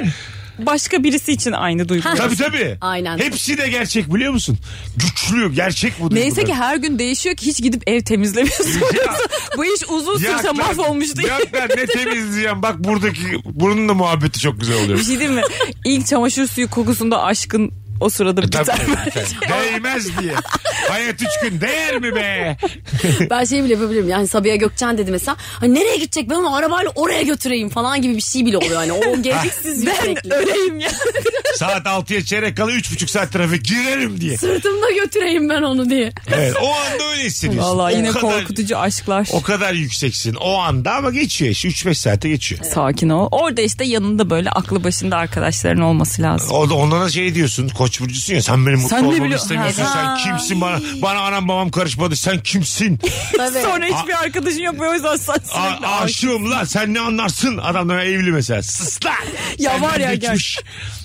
D: başka birisi için aynı duygu.
C: tabii tabii.
E: Aynen.
C: Hepsi de gerçek biliyor musun? Güçlü gerçek bu.
D: Neyse ki
C: duygular.
D: her gün değişiyor ki hiç gidip ev temizlemiyorsun.
C: Ya-
D: Bu iş uzun sürse
C: Yak lan,
D: mahvolmuş değil.
C: yak lan, ne temizleyeceğim. Bak buradaki bunun da muhabbeti çok güzel oluyor.
D: Bir şey diyeyim mi? İlk çamaşır suyu kokusunda aşkın o sırada
C: E, Tabii,
D: biter.
C: tabii. Değmez diye. Hayat üç gün değer mi be?
E: Ben şey bile yapabilirim yani Sabiha Gökçen dedi mesela hani nereye gidecek ben onu arabayla oraya götüreyim falan gibi bir şey bile oluyor hani o gereksiz
D: Ben
E: yükseklik.
D: öleyim ya.
C: Saat 6'ya çeyrek kala üç buçuk saat trafik girerim diye.
E: Sırtımda götüreyim ben onu diye.
C: Evet, o anda öyle hissediyorsun.
D: Vallahi yine
C: o kadar,
D: korkutucu aşklar.
C: O kadar yükseksin o anda ama geçiyor iş. 3-5 saate geçiyor.
D: Sakin ol. Orada işte yanında böyle aklı başında arkadaşların olması lazım.
C: O da onlara şey diyorsun koç burcusun ya sen benim mutlu
D: Sen ne
C: olmamı
D: biliyor-
C: istemiyorsun sen
E: Ha.
C: kimsin bana bana anam babam karışmadı sen kimsin
E: Tabii.
D: Sonra hiçbir arkadaşın yok ve o yüzden sen
C: A-
D: sürekli aşık.
C: aşığım lan sen ne anlarsın adamlara evli mesela sus lan
D: Ya
C: Senden
D: var ya,
C: geçmiş.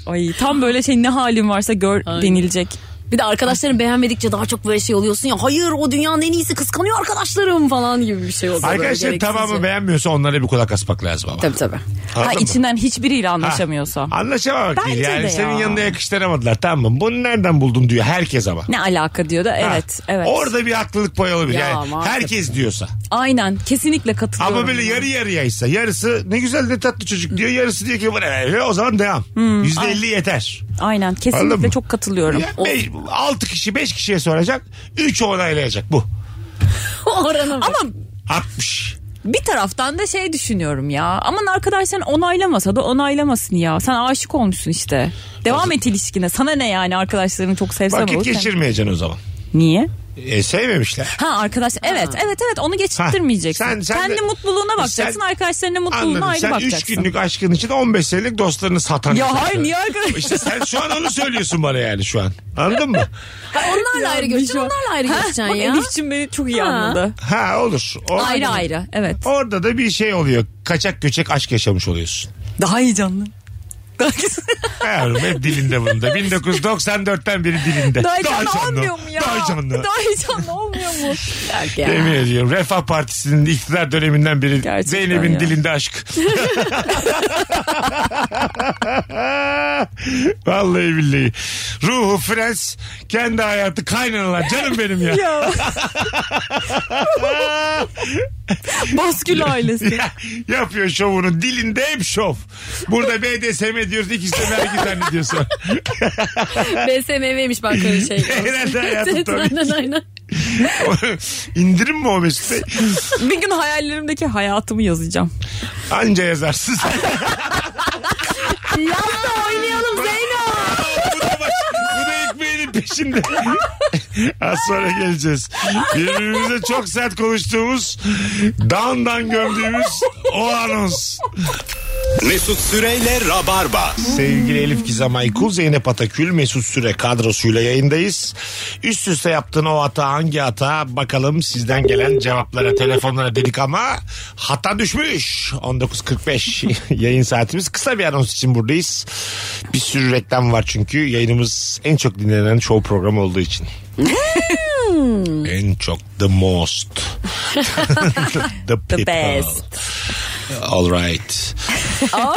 D: Ay tam böyle şey ne halin varsa gör denilecek.
E: Bir de arkadaşların beğenmedikçe daha çok böyle şey oluyorsun ya. Hayır o dünyanın en iyisi kıskanıyor arkadaşlarım falan gibi bir şey oluyor. böyle
C: Arkadaşlar
E: gereksizce.
C: tamamı beğenmiyorsa onlara bir kulak asmak lazım ama.
E: Tabii tabii.
D: Ha,
C: Anladın mı?
D: içinden hiçbiriyle
C: Ha,
D: anlaşamıyorsa.
C: Anlaşamamak
D: Bence
C: değil yani.
D: de
C: Senin
D: ya.
C: yanına yakıştıramadılar tamam mı? Bunu nereden buldun diyor herkes ama.
D: Ne alaka diyor da
C: Ha,
D: evet evet.
C: Orada bir haklılık payı olabilir.
E: Ya,
C: yani
E: maalesef.
C: herkes diyorsa.
D: Aynen kesinlikle katılıyorum.
C: Ama böyle
D: ya.
C: yarı yarıyaysa yarısı ne güzel ne tatlı çocuk diyor. Yarısı diyor ki bana ver, o zaman devam.
D: Hmm,
C: Yüzde elli yeter.
D: Aynen
C: Anladın
D: kesinlikle
C: mı?
D: çok katılıyorum.
C: Ya, beş- altı kişi beş kişiye soracak. Üç onaylayacak bu.
E: Oranı Ama
D: Ama
C: 60.
D: bir taraftan da şey düşünüyorum ya. Aman arkadaşların onaylamasa da onaylamasın ya. Sen aşık olmuşsun işte. Devam et ilişkine. Sana ne yani arkadaşlarını çok sevsem
C: Vakit
D: olur.
C: geçirmeyeceksin o zaman.
D: Niye?
C: E, sevmemişler.
D: Ha arkadaş evet evet evet onu geçirtmeyeceksin.
C: Ha, sen- sen
D: Kendi
C: de-
D: mutluluğuna bakacaksın.
C: Sen-
D: arkadaşlarının mutluluğuna
C: Anladım.
D: ayrı
C: Sen üç
D: bakacaksın.
C: günlük aşkın için 15 senelik dostlarını satan.
D: Ya
C: insansın.
D: hayır niye arkadaş?
C: İşte sen şu an onu söylüyorsun bana yani şu an. Anladın mı?
E: onlarla
D: Ya
E: ayrı görüşeceksin
D: Dijon.
E: onlarla ayrı görüşeceksin
D: Bak
E: ya.
D: Elif'cim beni çok iyi
E: Ha.
D: anladı.
C: Ha olur. O-
D: Ayrı ayrı evet.
C: Orada da bir şey oluyor. Kaçak göçek aşk yaşamış oluyorsun.
D: Daha heyecanlı. Daha güzel.
C: Yavrum hep dilinde bunda. 1994'ten beri dilinde.
D: Daha heyecanlı
C: canlı.
D: olmuyor mu ya?
C: Daha canlı.
D: Daha heyecanlı olmuyor mu?
E: Bak ya.
C: Yemin ediyorum Refah Partisi'nin iktidar döneminden beri
D: Gerçekten
C: Zeynep'in
D: ya.
C: dilinde aşk. Vallahi billahi. Ruhu Frens, kendi hayatı kaynanalar. Canım benim ya.
D: ya. Baskül ailesi.
C: Yapıyor şovunu. Dilinde hep şov. Burada BDSM diyoruz. ikisi de vergi zannediyor sonra.
E: BSMV'miş bak öyle şey.
C: Herhalde hayatım tabii.
E: Aynen aynen.
C: İndirim mi o Mesut Bey?
D: Bir gün hayallerimdeki hayatımı yazaacağım.
C: Anca yazarsın.
E: Lafla oynayalım Zeyno.
C: bu da baş, bu da ekmeğinin peşinde. Az sonra geleceğiz. Birbirimize çok sert konuştuğumuz, dağından gömdüğümüz o anons.
B: Mesut Süreyle Rabarba.
C: Sevgili Elif Gizem Aykul, Zeynep Atakül, Mesut Süre kadrosuyla yayındayız. Üst üste yaptığın o hata hangi hata bakalım sizden gelen cevaplara, telefonlara dedik ama hata düşmüş. 19.45 yayın saatimiz. Kısa bir anons için buradayız. Bir sürü reklam var çünkü yayınımız en çok dinlenen show programı olduğu için. en çok the most. the,
D: The
C: people.
D: best.
C: All right.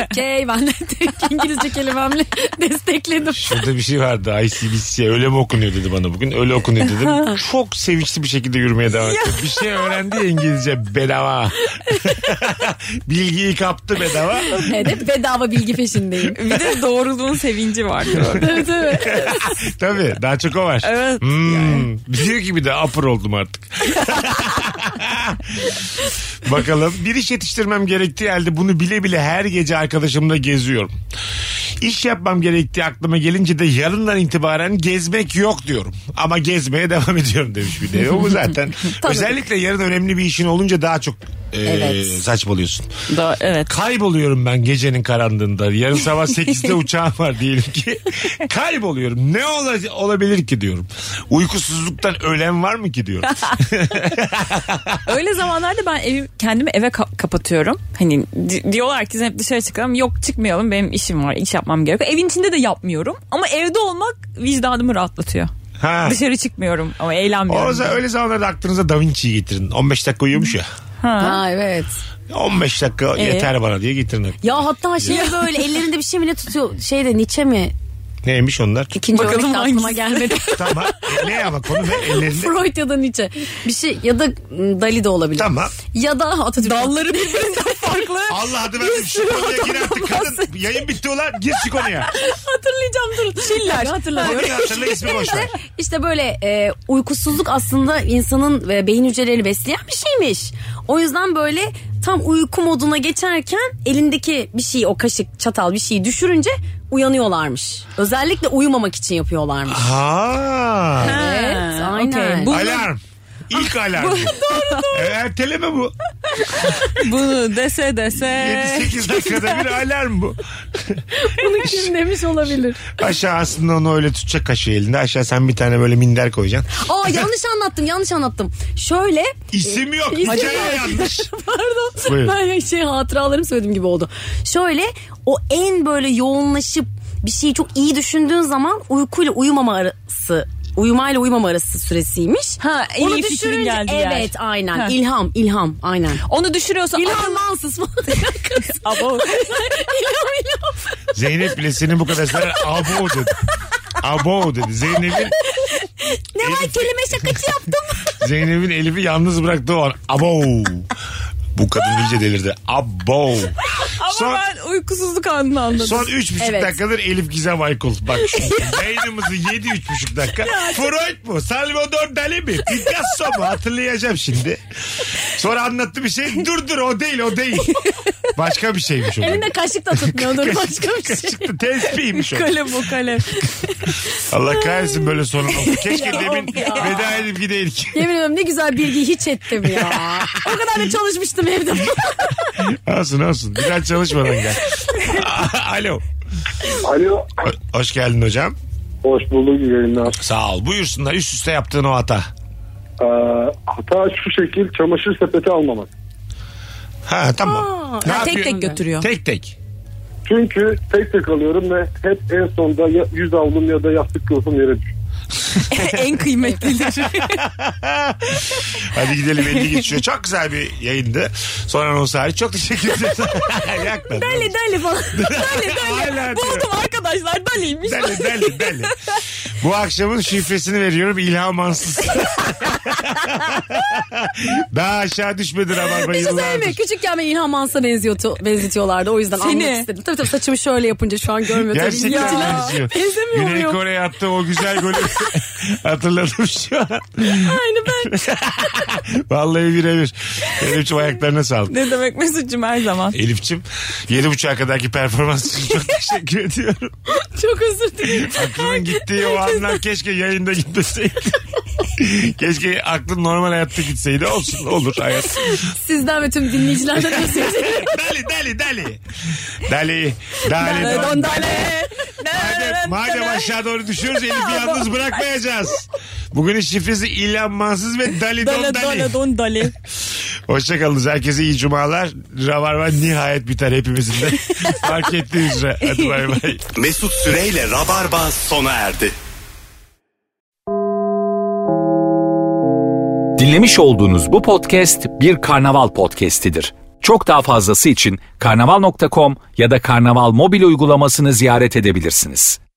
E: Okey ben de direkt İngilizce kelimemle destekledim.
C: Şurada bir şey vardı ICBC öyle mi okunuyor dedi bana bugün. Öyle okunuyor dedim. Çok sevinçli bir şekilde yürümeye devam etti. Bir şey öğrendi ya İngilizce bedava. Bilgiyi kaptı bedava.
E: Evet hep bedava bilgi peşindeyim.
D: Bir de doğruluğun sevinci vardı orada.
E: Tabii tabii.
C: Tabii daha çok o var.
D: Evet.
C: Hmm, Diyor ki bir de upper oldum artık. Bakalım bir iş yetiştirmem gerektiği halde bunu bile bile her gece arkadaşımla geziyorum. İş yapmam gerektiği aklıma gelince de yarından itibaren gezmek yok diyorum. Ama gezmeye devam ediyorum demiş bir de. O bu zaten. Özellikle yarın önemli bir işin olunca daha çok e,
E: Evet.
C: saçmalıyorsun.
D: Da, evet.
C: Kayboluyorum ben gecenin karanlığında. Yarın sabah 8'de uçağım var diyelim ki. Kayboluyorum. Ne ola- olabilir ki diyorum. Uykusuzluktan ölen var mı ki diyorum.
D: Öyle zamanlarda ben evi, kendimi eve ka- kapatıyorum. Hani di- diyorlar ki "Sen hep dışarı çıkalım. Yok çıkmayalım benim işim var. iş yapmam gerekiyor. Evin içinde de yapmıyorum. Ama evde olmak vicdanımı rahatlatıyor.
C: Ha.
D: Dışarı çıkmıyorum ama
C: O
D: eğlenmiyorum.
C: zaman öyle zamanlarda aklınıza Da Vinci'yi getirin. 15 dakika uyumuş ya.
E: Ha evet.
C: 15 dakika
D: Ee?
C: yeter bana diye getirin. aklına.
E: Ya hatta şey böyle ellerinde bir şey mi ne tutuyor? Şey de Nietzsche mi?
C: Neymiş onlar?
E: İkinci
D: Bakalım
E: örnek de aklıma
D: hangisi?
E: gelmedi.
C: tamam. E, Ne ama konu ne? Ellerinde.
E: Freud ya da Nietzsche. Bir şey ya da mm, Dali de olabilir.
C: Tamam.
E: Ya da Atatürk.
D: Dalları birbirinden farklı.
C: Allah adı verdim. Şu konuya gir artık kadın. Yayın bitti ulan. Gir şu konuya.
D: Hatırlayacağım dur. Şiller.
E: hatırlamıyorum.
C: Adını hatırla ismi boş ver.
E: İşte böyle e, uykusuzluk aslında insanın e, beyin hücrelerini besleyen bir şeymiş. O yüzden böyle tam uyku moduna geçerken elindeki bir şeyi o kaşık çatal bir şeyi düşürünce uyanıyorlarmış. Özellikle uyumamak için yapıyorlarmış.
C: Ha.
E: Evet, aynen.
D: Ah. okey. Bu-
C: Alarm. İlk alarm. doğru doğru. Erteleme bu.
D: Bunu dese dese.
C: 7-8 dakikada bir alarm bu.
E: Bunu kim demiş olabilir?
C: Aşağı aslında onu öyle tutacak kaşığı elinde. Aşağı sen bir tane böyle minder koyacaksın.
E: Aa yanlış anlattım, yanlış anlattım. Şöyle
C: İsim yok.
E: İsim
C: Hikaye
E: yok.
C: yanlış.
E: Pardon.
C: Buyurun.
E: Ben şey hatıralarımı söylediğim gibi oldu. Şöyle o en böyle yoğunlaşıp bir şeyi çok iyi düşündüğün zaman uykuyla uyumama arası uyumayla uyumam arası süresiymiş.
D: Ha, en iyi fikrin
E: düşürünce-
D: geldiği yer.
E: Evet aynen.
D: Ha.
E: İlham, ilham aynen.
D: Onu düşürüyorsa
E: İlham mansız falan.
D: Abo.
E: ilham ilham.
C: Zeynep bile senin bu kadar sana abo dedi. Abo dedi. Zeynep'in
E: Ne var kelime şakacı yaptım.
C: Zeynep'in Elif'i yalnız bıraktığı o an abo. Bu kadın iyice delirdi. Abo.
D: Ama
C: Son-
D: ben uykusuzluk anını anladım.
C: Son üç buçuk
E: Evet.
C: dakikadır Elif Gizem Aykul. Bak şu yayınımızı yedi üç buçuk dakika. Freud mu? Salvador Dali mi? Picasso mu? Hatırlayacağım şimdi. Sonra anlattı bir şey. Dur dur o değil o değil. Başka bir şeymiş o.
E: Elinde kaşık da tutmuyordur başka bir şey.
C: Çıktı tespihmiş o.
D: Kalem o kalem.
C: Allah kahretsin böyle sonunu. Keşke
E: Ya,
C: demin
E: ya.
C: veda edip gideydik.
E: Yemin ediyorum ne güzel bilgiyi hiç ettim ya. o kadar da çalışmıştım evde.
C: Olsun olsun. Biraz çalışmadan gel. Alo.
J: Alo.
C: Ho- Hoş geldin hocam.
J: Hoş bulduk iyi yayınlar.
C: Sağ ol. Buyursunlar üst üste yaptığın o hata.
J: Ee, hata şu şekil çamaşır sepeti almamak.
C: Ha tamam. Ne
D: Ha, tek
C: yapıyor-
D: tek götürüyor.
C: Tek tek.
J: Çünkü tek tek alıyorum ve hep en sonda ya yüz avlum ya da yastık kılıfım yere düşüyor.
D: en kıymetlidir.
C: Hadi gidelim 50 geçiyor. Çok güzel bir yayındı. Sonra anonsu hariç çok teşekkür ederim. Yakladın.
E: Deli deli falan.
D: Dali
C: Hala
D: dali.
C: diyor.
D: Buldum arkadaşlar daliymiş.
C: Deli deli deli. Bu akşamın şifresini veriyorum İlham Ansız. Daha aşağı düşmedi Rabarba
E: Bir şey söyleyeyim mi?
C: yıllardır.
E: Küçükken beni İlhan Mans'a benziyordu, benzetiyorlardı. O yüzden
D: Seni.
E: anmak istedim. Tabii tabii saçımı şöyle yapınca şu an görmüyor. tabii.
C: Gerçekten
E: İlhan-
C: benziyor.
D: benzemiyor
C: Güney
D: muyum?
C: Kore attı o güzel golü hatırladım şu an.
D: Aynı ben.
C: Vallahi birebir. Elif'ciğim ayaklarına sağlık.
D: Ne demek Mesut'cum her zaman.
C: Elif'ciğim yedi buçuğa kadarki performans için çok teşekkür ediyorum.
E: Çok özür dilerim.
C: Aklının gittiği o anlar keşke yayında gitmeseydi. keşke aklın normal hayatta gitseydi olsun olur hayat.
E: Sizden ve tüm dinleyicilerden özür dilerim.
C: Dali dali dali. Dali dali dali.
E: Don dale.
C: Madem, madem aşağı doğru düşüyoruz Elif'i yalnız bırakmayacağız. Bugünün şifresi İlhan Mansız ve Dali Don
D: Dale
C: Dali.
D: dale don dale.
C: Hoşçakalınız. Herkese iyi cumalar. Rabarba nihayet biter hepimizin de. Fark ettiği üzere. Hadi bay bay.
B: Mesut Süreyle Rabarba sona erdi.
A: Dinlemiş olduğunuz bu podcast bir karnaval podcastidir. Çok daha fazlası için karnaval.com ya da karnaval mobil uygulamasını ziyaret edebilirsiniz.